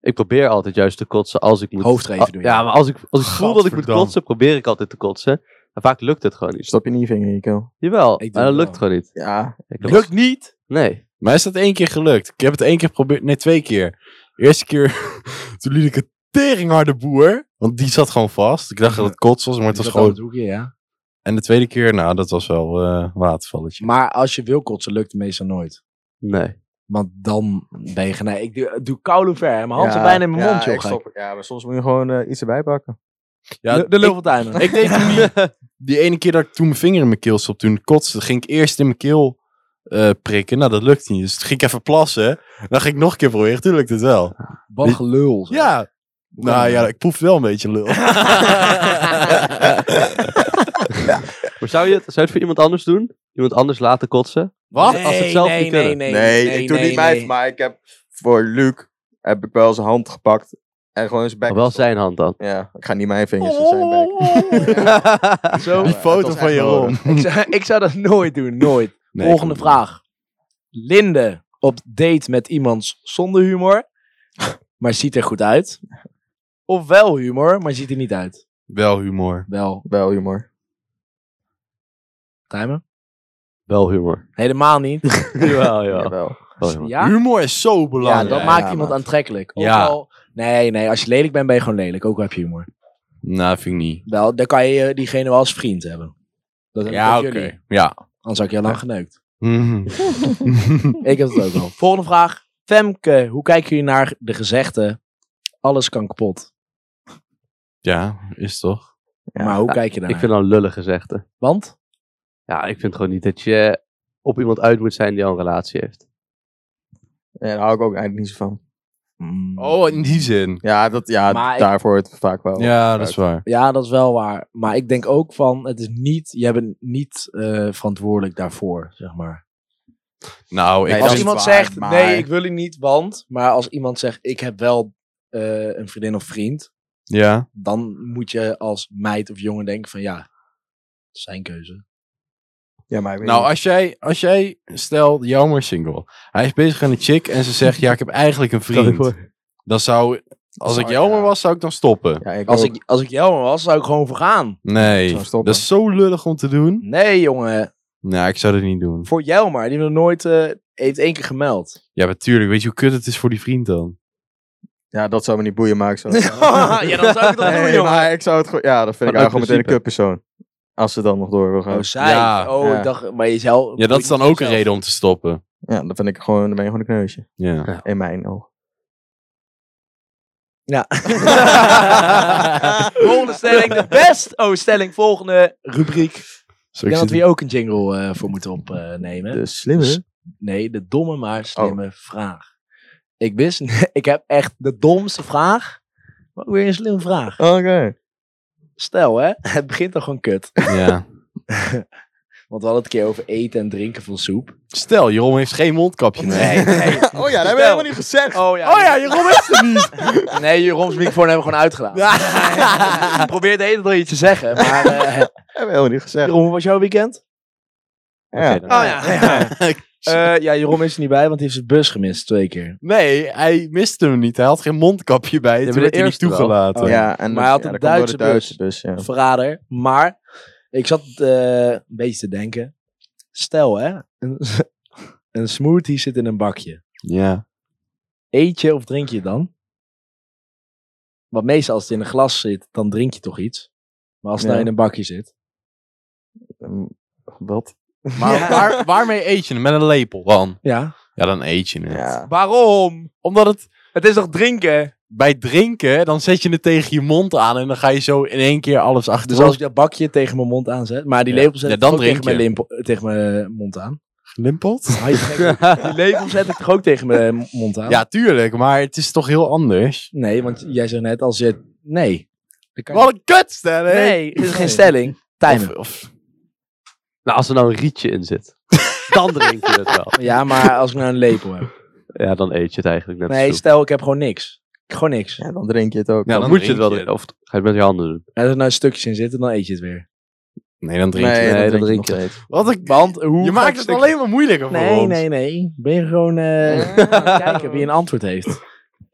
Speaker 6: Ik probeer altijd juist te kotsen als ik moet.
Speaker 5: Hoofdreven
Speaker 6: Ah,
Speaker 5: doe je.
Speaker 6: Ja, maar als ik, als ik voel dat ik moet
Speaker 1: Gadverdamme.
Speaker 6: kotsen, probeer ik altijd te kotsen. Maar vaak lukt het gewoon niet.
Speaker 2: Stop je niet je vinger in je keel.
Speaker 6: Jawel,
Speaker 5: Ik doe
Speaker 6: maar dat
Speaker 5: het
Speaker 6: lukt gewoon niet.
Speaker 2: Ja,
Speaker 6: Ik
Speaker 1: Lukt niet?
Speaker 6: Nee.
Speaker 1: Maar is dat één keer gelukt? Ik heb het één keer geprobeerd. Nee, twee keer. De eerste keer, toen liet ik een teringharde boer. Want die zat gewoon vast. Ik dacht dat het kots was, maar het was gewoon...
Speaker 5: ja.
Speaker 1: En de tweede keer, nou, dat was wel eh watervalletje.
Speaker 5: Maar als je wil kotsen, lukt het meestal nooit.
Speaker 6: Nee.
Speaker 5: Want dan ben je geneigd. Ik doe, doe koude ver. Mijn hand
Speaker 2: ja,
Speaker 5: zit bijna in mijn
Speaker 2: ja,
Speaker 5: mond, joh.
Speaker 2: ik
Speaker 5: gek.
Speaker 2: stop- Ja, maar soms moet je gewoon eh, iets erbij pakken.
Speaker 1: Ja,
Speaker 5: de de lul van Tijmen.
Speaker 1: ik deed toen die, die ene keer dat ik toen mijn vinger in mijn keel stop, toen kotste, ging ik eerst in mijn keel eh, prikken. Nou, dat lukte niet. Dus toen ging ik even plassen. Dan ging ik nog een keer proberen. Toen lukte het wel.
Speaker 5: Wat gelul. zeg.
Speaker 1: Ja. Nou ja, ik proef wel een beetje lul.
Speaker 6: Maar zou je, het, zou je het voor iemand anders doen? Iemand anders laten kotsen?
Speaker 1: Wat?
Speaker 6: Als ze het zelf niet kunnen.
Speaker 2: Nee, ik doe niet mij, maar ik heb voor Luc heb ik wel zijn hand gepakt en gewoon zijn bek.
Speaker 6: Maar wel zijn hand dan.
Speaker 2: Ja, ik ga niet mijn vingers in zijn bek.
Speaker 1: Zo, die
Speaker 2: Ja, dat
Speaker 1: foto
Speaker 2: was
Speaker 1: van
Speaker 2: echt
Speaker 1: Jeroen.
Speaker 2: nodig.
Speaker 5: Ik zou, ik zou dat nooit doen, nooit.
Speaker 1: Nee,
Speaker 5: Volgende
Speaker 1: ik-
Speaker 5: vraag. Linde op date met iemand zonder humor, maar ziet er goed uit. Of wel humor, maar ziet er niet uit.
Speaker 1: Wel humor.
Speaker 5: Wel,
Speaker 2: Wel humor.
Speaker 5: Tijmen?
Speaker 6: Wel humor.
Speaker 5: Helemaal niet.
Speaker 6: Jawel,
Speaker 2: Ja.
Speaker 6: ja.
Speaker 2: Wel.
Speaker 6: Wel humor.
Speaker 5: Ja?
Speaker 1: Humor is zo
Speaker 5: Ja,
Speaker 1: belangrijk.
Speaker 5: dat maakt
Speaker 2: ja,
Speaker 5: iemand
Speaker 2: maat.
Speaker 5: aantrekkelijk. Ook
Speaker 1: Ja.
Speaker 5: al- nee, nee, als je lelijk bent, ben je gewoon lelijk. Ook al heb je humor.
Speaker 1: Nou, vind ik niet.
Speaker 5: Wel, dan kan je eh, diegene wel als vriend hebben. Dat heb ik
Speaker 1: Ja,
Speaker 5: ook
Speaker 1: oké.
Speaker 5: jullie.
Speaker 1: Ja.
Speaker 5: Anders had ik je al lang geneukt.
Speaker 1: Mhm.
Speaker 5: Ik heb het ook al. Volgende vraag. Femke, hoe kijken jullie naar de gezegde? Alles kan kapot.
Speaker 1: ja, is toch?
Speaker 2: Ja.
Speaker 5: maar hoe kijk je daar?
Speaker 6: Ik vind dat een lullige gezegde.
Speaker 5: Want?
Speaker 6: Ja, ik vind gewoon niet dat je op iemand uit moet zijn die al een relatie heeft.
Speaker 2: Ja, daar hou ik ook eigenlijk niet zo van. Mm.
Speaker 1: Oh, in die zin. Oh,
Speaker 2: Ja, dat,
Speaker 5: Maar
Speaker 2: ja
Speaker 5: ik-
Speaker 2: daarvoor het vaak wel.
Speaker 1: Ja, dat is waar.
Speaker 5: Ja, dat is wel waar. Maar ik denk ook van, het is niet, je bent niet eh, verantwoordelijk daarvoor, zeg maar.
Speaker 1: Nou, ik
Speaker 2: Nee,
Speaker 5: als
Speaker 1: vind-
Speaker 2: dat is
Speaker 5: iemand
Speaker 2: waar,
Speaker 5: zegt,
Speaker 2: maar-
Speaker 5: nee, ik wil u niet, want. Maar als iemand zegt, ik heb wel eh, een vriendin of vriend.
Speaker 1: Ja.
Speaker 5: Dan moet je als meid of jongen denken van, ja, het is zijn keuze.
Speaker 2: Ja, maar ik weet
Speaker 1: Nou,
Speaker 2: niet.
Speaker 1: als jij, als jij stel, Jammer single. Hij is bezig aan een chick en ze zegt, ja, ik heb eigenlijk een vriend. Dan zou, als ik
Speaker 2: Zou-
Speaker 1: Jammer
Speaker 2: ja.
Speaker 1: was, zou ik dan stoppen.
Speaker 2: Ja, ik
Speaker 5: Als
Speaker 2: ook.
Speaker 5: ik, als ik jou was, zou ik gewoon vergaan.
Speaker 1: Nee,
Speaker 2: Zou
Speaker 1: dat
Speaker 2: stoppen.
Speaker 1: is zo lullig om te doen.
Speaker 5: Nee, jongen.
Speaker 1: Nou, ik zou dat niet doen.
Speaker 5: Voor jou maar. Die heeft nog nooit... eh, heeft één keer gemeld.
Speaker 1: Ja, natuurlijk. Weet je hoe kut het is voor die vriend dan?
Speaker 2: ja, dat zou me niet boeien, maar ik zou...
Speaker 5: ja, dan zou ik dat
Speaker 2: Nee, maar ik zou het gewoon... Ja, dat vind
Speaker 6: Vanuit
Speaker 2: ik eigenlijk gewoon meteen een
Speaker 6: principe.
Speaker 2: kutpersoon. Als ze dan nog door wil gaan.
Speaker 5: Oh, zij.
Speaker 1: Ja,
Speaker 5: oh,
Speaker 2: ja.
Speaker 5: ik dacht... Maar jezelf...
Speaker 1: Ja, dat is dan ook een reden om te stoppen.
Speaker 2: Ja, dan vind ik gewoon, dan ben je gewoon een kneusje.
Speaker 1: Ja.
Speaker 2: In mijn oog.
Speaker 5: volgende stelling. De best. Oh, stelling. Volgende rubriek. Ik
Speaker 1: Zo,
Speaker 5: denk dat
Speaker 1: ik
Speaker 5: we
Speaker 1: zit-
Speaker 5: hier ook een jingle eh, voor moeten opnemen.
Speaker 2: De slimme.
Speaker 5: nee, de domme maar
Speaker 1: Oh.
Speaker 5: slimme vraag. Ik wist... ik heb echt de domste vraag. Maar ook weer een slimme vraag.
Speaker 2: Oké.
Speaker 5: Stel, hè. Het begint toch gewoon kut.
Speaker 1: Ja.
Speaker 5: Want we hadden het een keer over eten en drinken van soep.
Speaker 1: Stel, Jeroen heeft geen mondkapje meer.
Speaker 2: Oh ja, dat hebben we helemaal niet gezegd.
Speaker 5: Oh ja.
Speaker 1: Jeroen is er niet.
Speaker 5: Nee, Jeroen's microfoon hebben we gewoon uitgedaan. Ik probeer de hele tijd iets te zeggen, maar... eh,
Speaker 2: Dat hebben we helemaal niet gezegd.
Speaker 5: Jeroen, hoe was jouw weekend?
Speaker 2: Ja.
Speaker 6: Oké, dan-
Speaker 5: Oh ja. ja. Eh, ja, Jeroen is er niet bij, want hij heeft zijn bus gemist twee keer.
Speaker 1: Nee, hij miste hem niet. Hij had geen mondkapje bij.
Speaker 6: maar
Speaker 1: Toen
Speaker 6: de
Speaker 1: werd hij niet
Speaker 6: eerste wel.
Speaker 1: toegelaten.
Speaker 2: Ja, en
Speaker 5: Maar hij had
Speaker 2: ja,
Speaker 5: een
Speaker 2: dat komt
Speaker 5: Duitse
Speaker 2: door de
Speaker 5: bus.
Speaker 2: Duitse bus. ja.
Speaker 5: Verrader. Maar ik zat eh, een beetje te denken. Stel hè, een, een smoothie zit in een bakje.
Speaker 1: Ja.
Speaker 5: Eet je of drink je het dan? Want meestal als het in een glas zit, dan drink je toch iets. Maar als het
Speaker 2: Ja.
Speaker 5: nou in een bakje zit.
Speaker 2: Ehm, Wat?
Speaker 1: Maar waar- waarmee eet je hem? Met een lepel dan?
Speaker 5: Ja.
Speaker 1: Ja, dan eet je het.
Speaker 2: Ja.
Speaker 1: Waarom? Omdat het
Speaker 5: Het is toch drinken?
Speaker 1: bij drinken, dan zet je het tegen je mond aan en dan ga je zo in één keer alles achter.
Speaker 5: Dus als ik dat bakje tegen mijn mond aanzet, maar die
Speaker 1: Ja.
Speaker 5: lepel zet
Speaker 1: Ja,
Speaker 5: ik dan
Speaker 1: dan
Speaker 5: tegen mijn,
Speaker 1: drink
Speaker 5: limpo- tegen mijn eh, mond aan.
Speaker 1: gelimpeld?
Speaker 5: Die lepel zet ik toch ook tegen mijn eh, mond aan?
Speaker 1: Ja, tuurlijk, maar het is toch heel anders.
Speaker 5: Nee, want jij zegt net als je... Nee. Dan kan je-
Speaker 1: Wat een kutstelling!
Speaker 5: Nee, dit is geen stelling. Timer.
Speaker 1: Of, of,
Speaker 6: Nou, als er nou een rietje in zit, dan drink je het wel.
Speaker 5: Ja, maar als ik nou een lepel heb.
Speaker 6: Ja, dan eet je het eigenlijk net
Speaker 5: Nee,
Speaker 6: zo.
Speaker 5: stel ik heb gewoon niks. Gewoon niks.
Speaker 2: Ja, dan drink je het ook.
Speaker 1: Ja,
Speaker 6: dan,
Speaker 1: dan
Speaker 6: moet je het wel
Speaker 1: drink je
Speaker 6: drinken. Of ga je het met je handen doen.
Speaker 5: En als er nou stukjes in zitten, dan eet je het weer.
Speaker 1: nee, dan drink
Speaker 2: nee,
Speaker 1: je.
Speaker 6: Nee,
Speaker 2: dan
Speaker 6: dan
Speaker 2: drink
Speaker 6: drink
Speaker 2: je het. nog steeds.
Speaker 1: Wat een...
Speaker 5: Want hoe
Speaker 1: Je
Speaker 5: ga
Speaker 1: maakt
Speaker 5: ik
Speaker 1: het
Speaker 5: stukjes-
Speaker 1: alleen maar moeilijker voor
Speaker 5: Nee,
Speaker 1: ons.
Speaker 5: nee, nee. Ben je gewoon eh,
Speaker 7: Ja.
Speaker 5: kijken wie een antwoord heeft.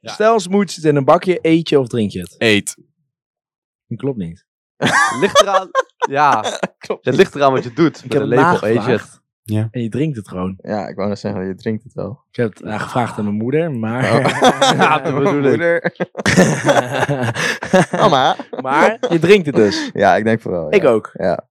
Speaker 5: Stel, als moet zit in een bakje, eet je of drink je het?
Speaker 1: Eet. Oh
Speaker 5: Dat klopt niet.
Speaker 6: Ligt eraan. ja, het ligt eraan wat je doet.
Speaker 5: Ik
Speaker 6: met
Speaker 5: heb
Speaker 6: een
Speaker 5: het
Speaker 6: lepel eet je het.
Speaker 5: nagevraagd.
Speaker 1: Ja.
Speaker 5: En je drinkt het gewoon.
Speaker 2: Ja, ik wou net zeggen, je drinkt het wel.
Speaker 5: Ik heb het eh, gevraagd aan mijn moeder, maar...
Speaker 6: Ja, dat bedoel ik.
Speaker 2: Moeder. Mama.
Speaker 5: Oh, maar je drinkt het dus.
Speaker 2: Oh. Ja, ik denk vooral.
Speaker 5: Ik ook.
Speaker 2: Ja.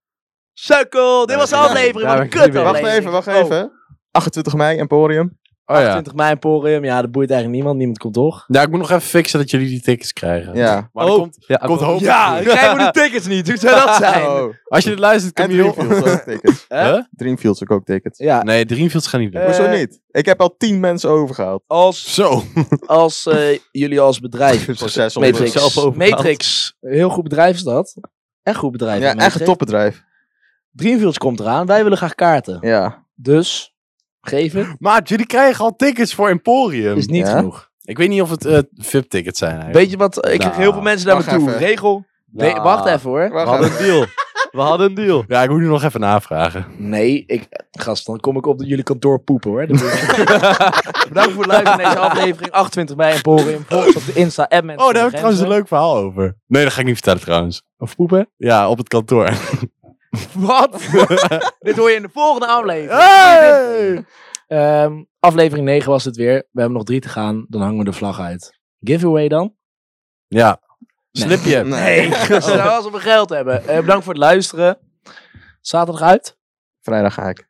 Speaker 5: Sukkel, dit was de aflevering.
Speaker 6: daar
Speaker 5: Wat een
Speaker 6: ben ik
Speaker 5: kut
Speaker 6: het niet mee.
Speaker 2: Wacht even, wacht even. 28 mei, Emporium.
Speaker 1: Oh ja.
Speaker 5: 20 Oh. mei Emporium. Ja, dat boeit eigenlijk niemand. Niemand komt toch?
Speaker 1: Ja, ik moet nog even fixen dat jullie die tickets krijgen.
Speaker 2: Ja.
Speaker 1: Maar er
Speaker 6: Oh.
Speaker 1: komt,
Speaker 6: Ja,
Speaker 1: komt
Speaker 6: hoop.
Speaker 1: hopelijk goed.
Speaker 5: krijgen we de tickets niet. Hoe zou dat
Speaker 2: Oh.
Speaker 1: Als je dit luistert,
Speaker 2: En
Speaker 1: kom je heel
Speaker 2: Dreamfields Eh, ook tickets.
Speaker 1: Huh?
Speaker 2: Dreamfields ook ook tickets.
Speaker 5: Ja,
Speaker 1: Nee, Dreamfields gaan niet doen.
Speaker 5: Eh.
Speaker 2: Hoezo niet? Ik heb al 10 mensen overgehaald.
Speaker 5: als,
Speaker 1: Eh, Zo.
Speaker 5: als eh, jullie als bedrijf...
Speaker 2: Voor 600.
Speaker 5: Matrix.
Speaker 6: zelf overgehaald.
Speaker 5: Matrix. Heel goed bedrijf is dat. Echt goed bedrijf.
Speaker 2: Ja,
Speaker 5: dat
Speaker 2: echt een
Speaker 5: Matrix.
Speaker 2: topbedrijf.
Speaker 5: Dreamfields komt eraan. Wij willen graag kaarten.
Speaker 2: Ja.
Speaker 5: Dus, geef het.
Speaker 1: Maar jullie krijgen al tickets voor Emporium.
Speaker 5: Is niet
Speaker 2: Ja?
Speaker 5: genoeg.
Speaker 1: Ik weet niet of het eh, VIP-tickets zijn eigenlijk.
Speaker 5: Weet je wat? Ik kreeg
Speaker 6: Nou,
Speaker 5: heel veel mensen naar me
Speaker 2: wacht
Speaker 5: toe.
Speaker 2: even.
Speaker 5: Regel.
Speaker 6: Nou.
Speaker 5: Nee, wacht even hoor.
Speaker 6: We
Speaker 2: Wacht
Speaker 6: hadden
Speaker 2: even.
Speaker 6: een deal. We hadden een deal.
Speaker 1: Ja, ik moet nu nog even navragen.
Speaker 5: Nee, ik, gast, dan kom ik op jullie kantoor poepen hoor. Dat doe ik. Bedankt voor het luisteren naar deze aflevering. 28 mei Emporium. Volg ons op de Insta app mensen.
Speaker 1: Oh, daar heb ik
Speaker 5: zonder
Speaker 1: trouwens een
Speaker 5: grenzen.
Speaker 1: leuk verhaal over. Nee, dat ga ik niet vertellen trouwens.
Speaker 5: Of poepen?
Speaker 1: Ja, op het kantoor.
Speaker 5: Wat? Dit hoor je in de volgende aflevering.
Speaker 1: Hey!
Speaker 5: Ehm, aflevering 9 was het weer. We hebben nog drie te gaan. Dan hangen we de vlag uit. Giveaway dan?
Speaker 1: Ja. Slipje.
Speaker 2: Nee.
Speaker 5: Zoals als we mijn geld hebben. Eh, bedankt voor het luisteren. Zaterdag uit?
Speaker 2: Vrijdag ga ik.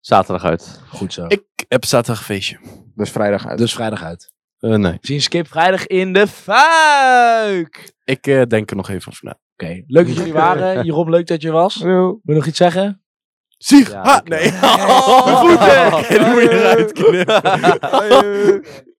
Speaker 6: Zaterdag uit.
Speaker 5: Goed zo.
Speaker 1: Ik heb zaterdag een feestje.
Speaker 2: Dus vrijdag uit.
Speaker 5: Dus vrijdag uit.
Speaker 1: Eh, nee.
Speaker 5: We zien Skip vrijdag in de fuik. Oké,
Speaker 1: Ik eh, denk er nog even over na.
Speaker 5: leuk dat jullie waren. Jeroen, leuk dat je was. Wil
Speaker 2: Hallo.
Speaker 5: je nog iets zeggen?
Speaker 1: Sieg!
Speaker 6: Ja,
Speaker 1: ha,
Speaker 6: ik, eh,
Speaker 1: Oh. nee. Mijn voeten! Die moet je eruit knippen.
Speaker 2: Hallo.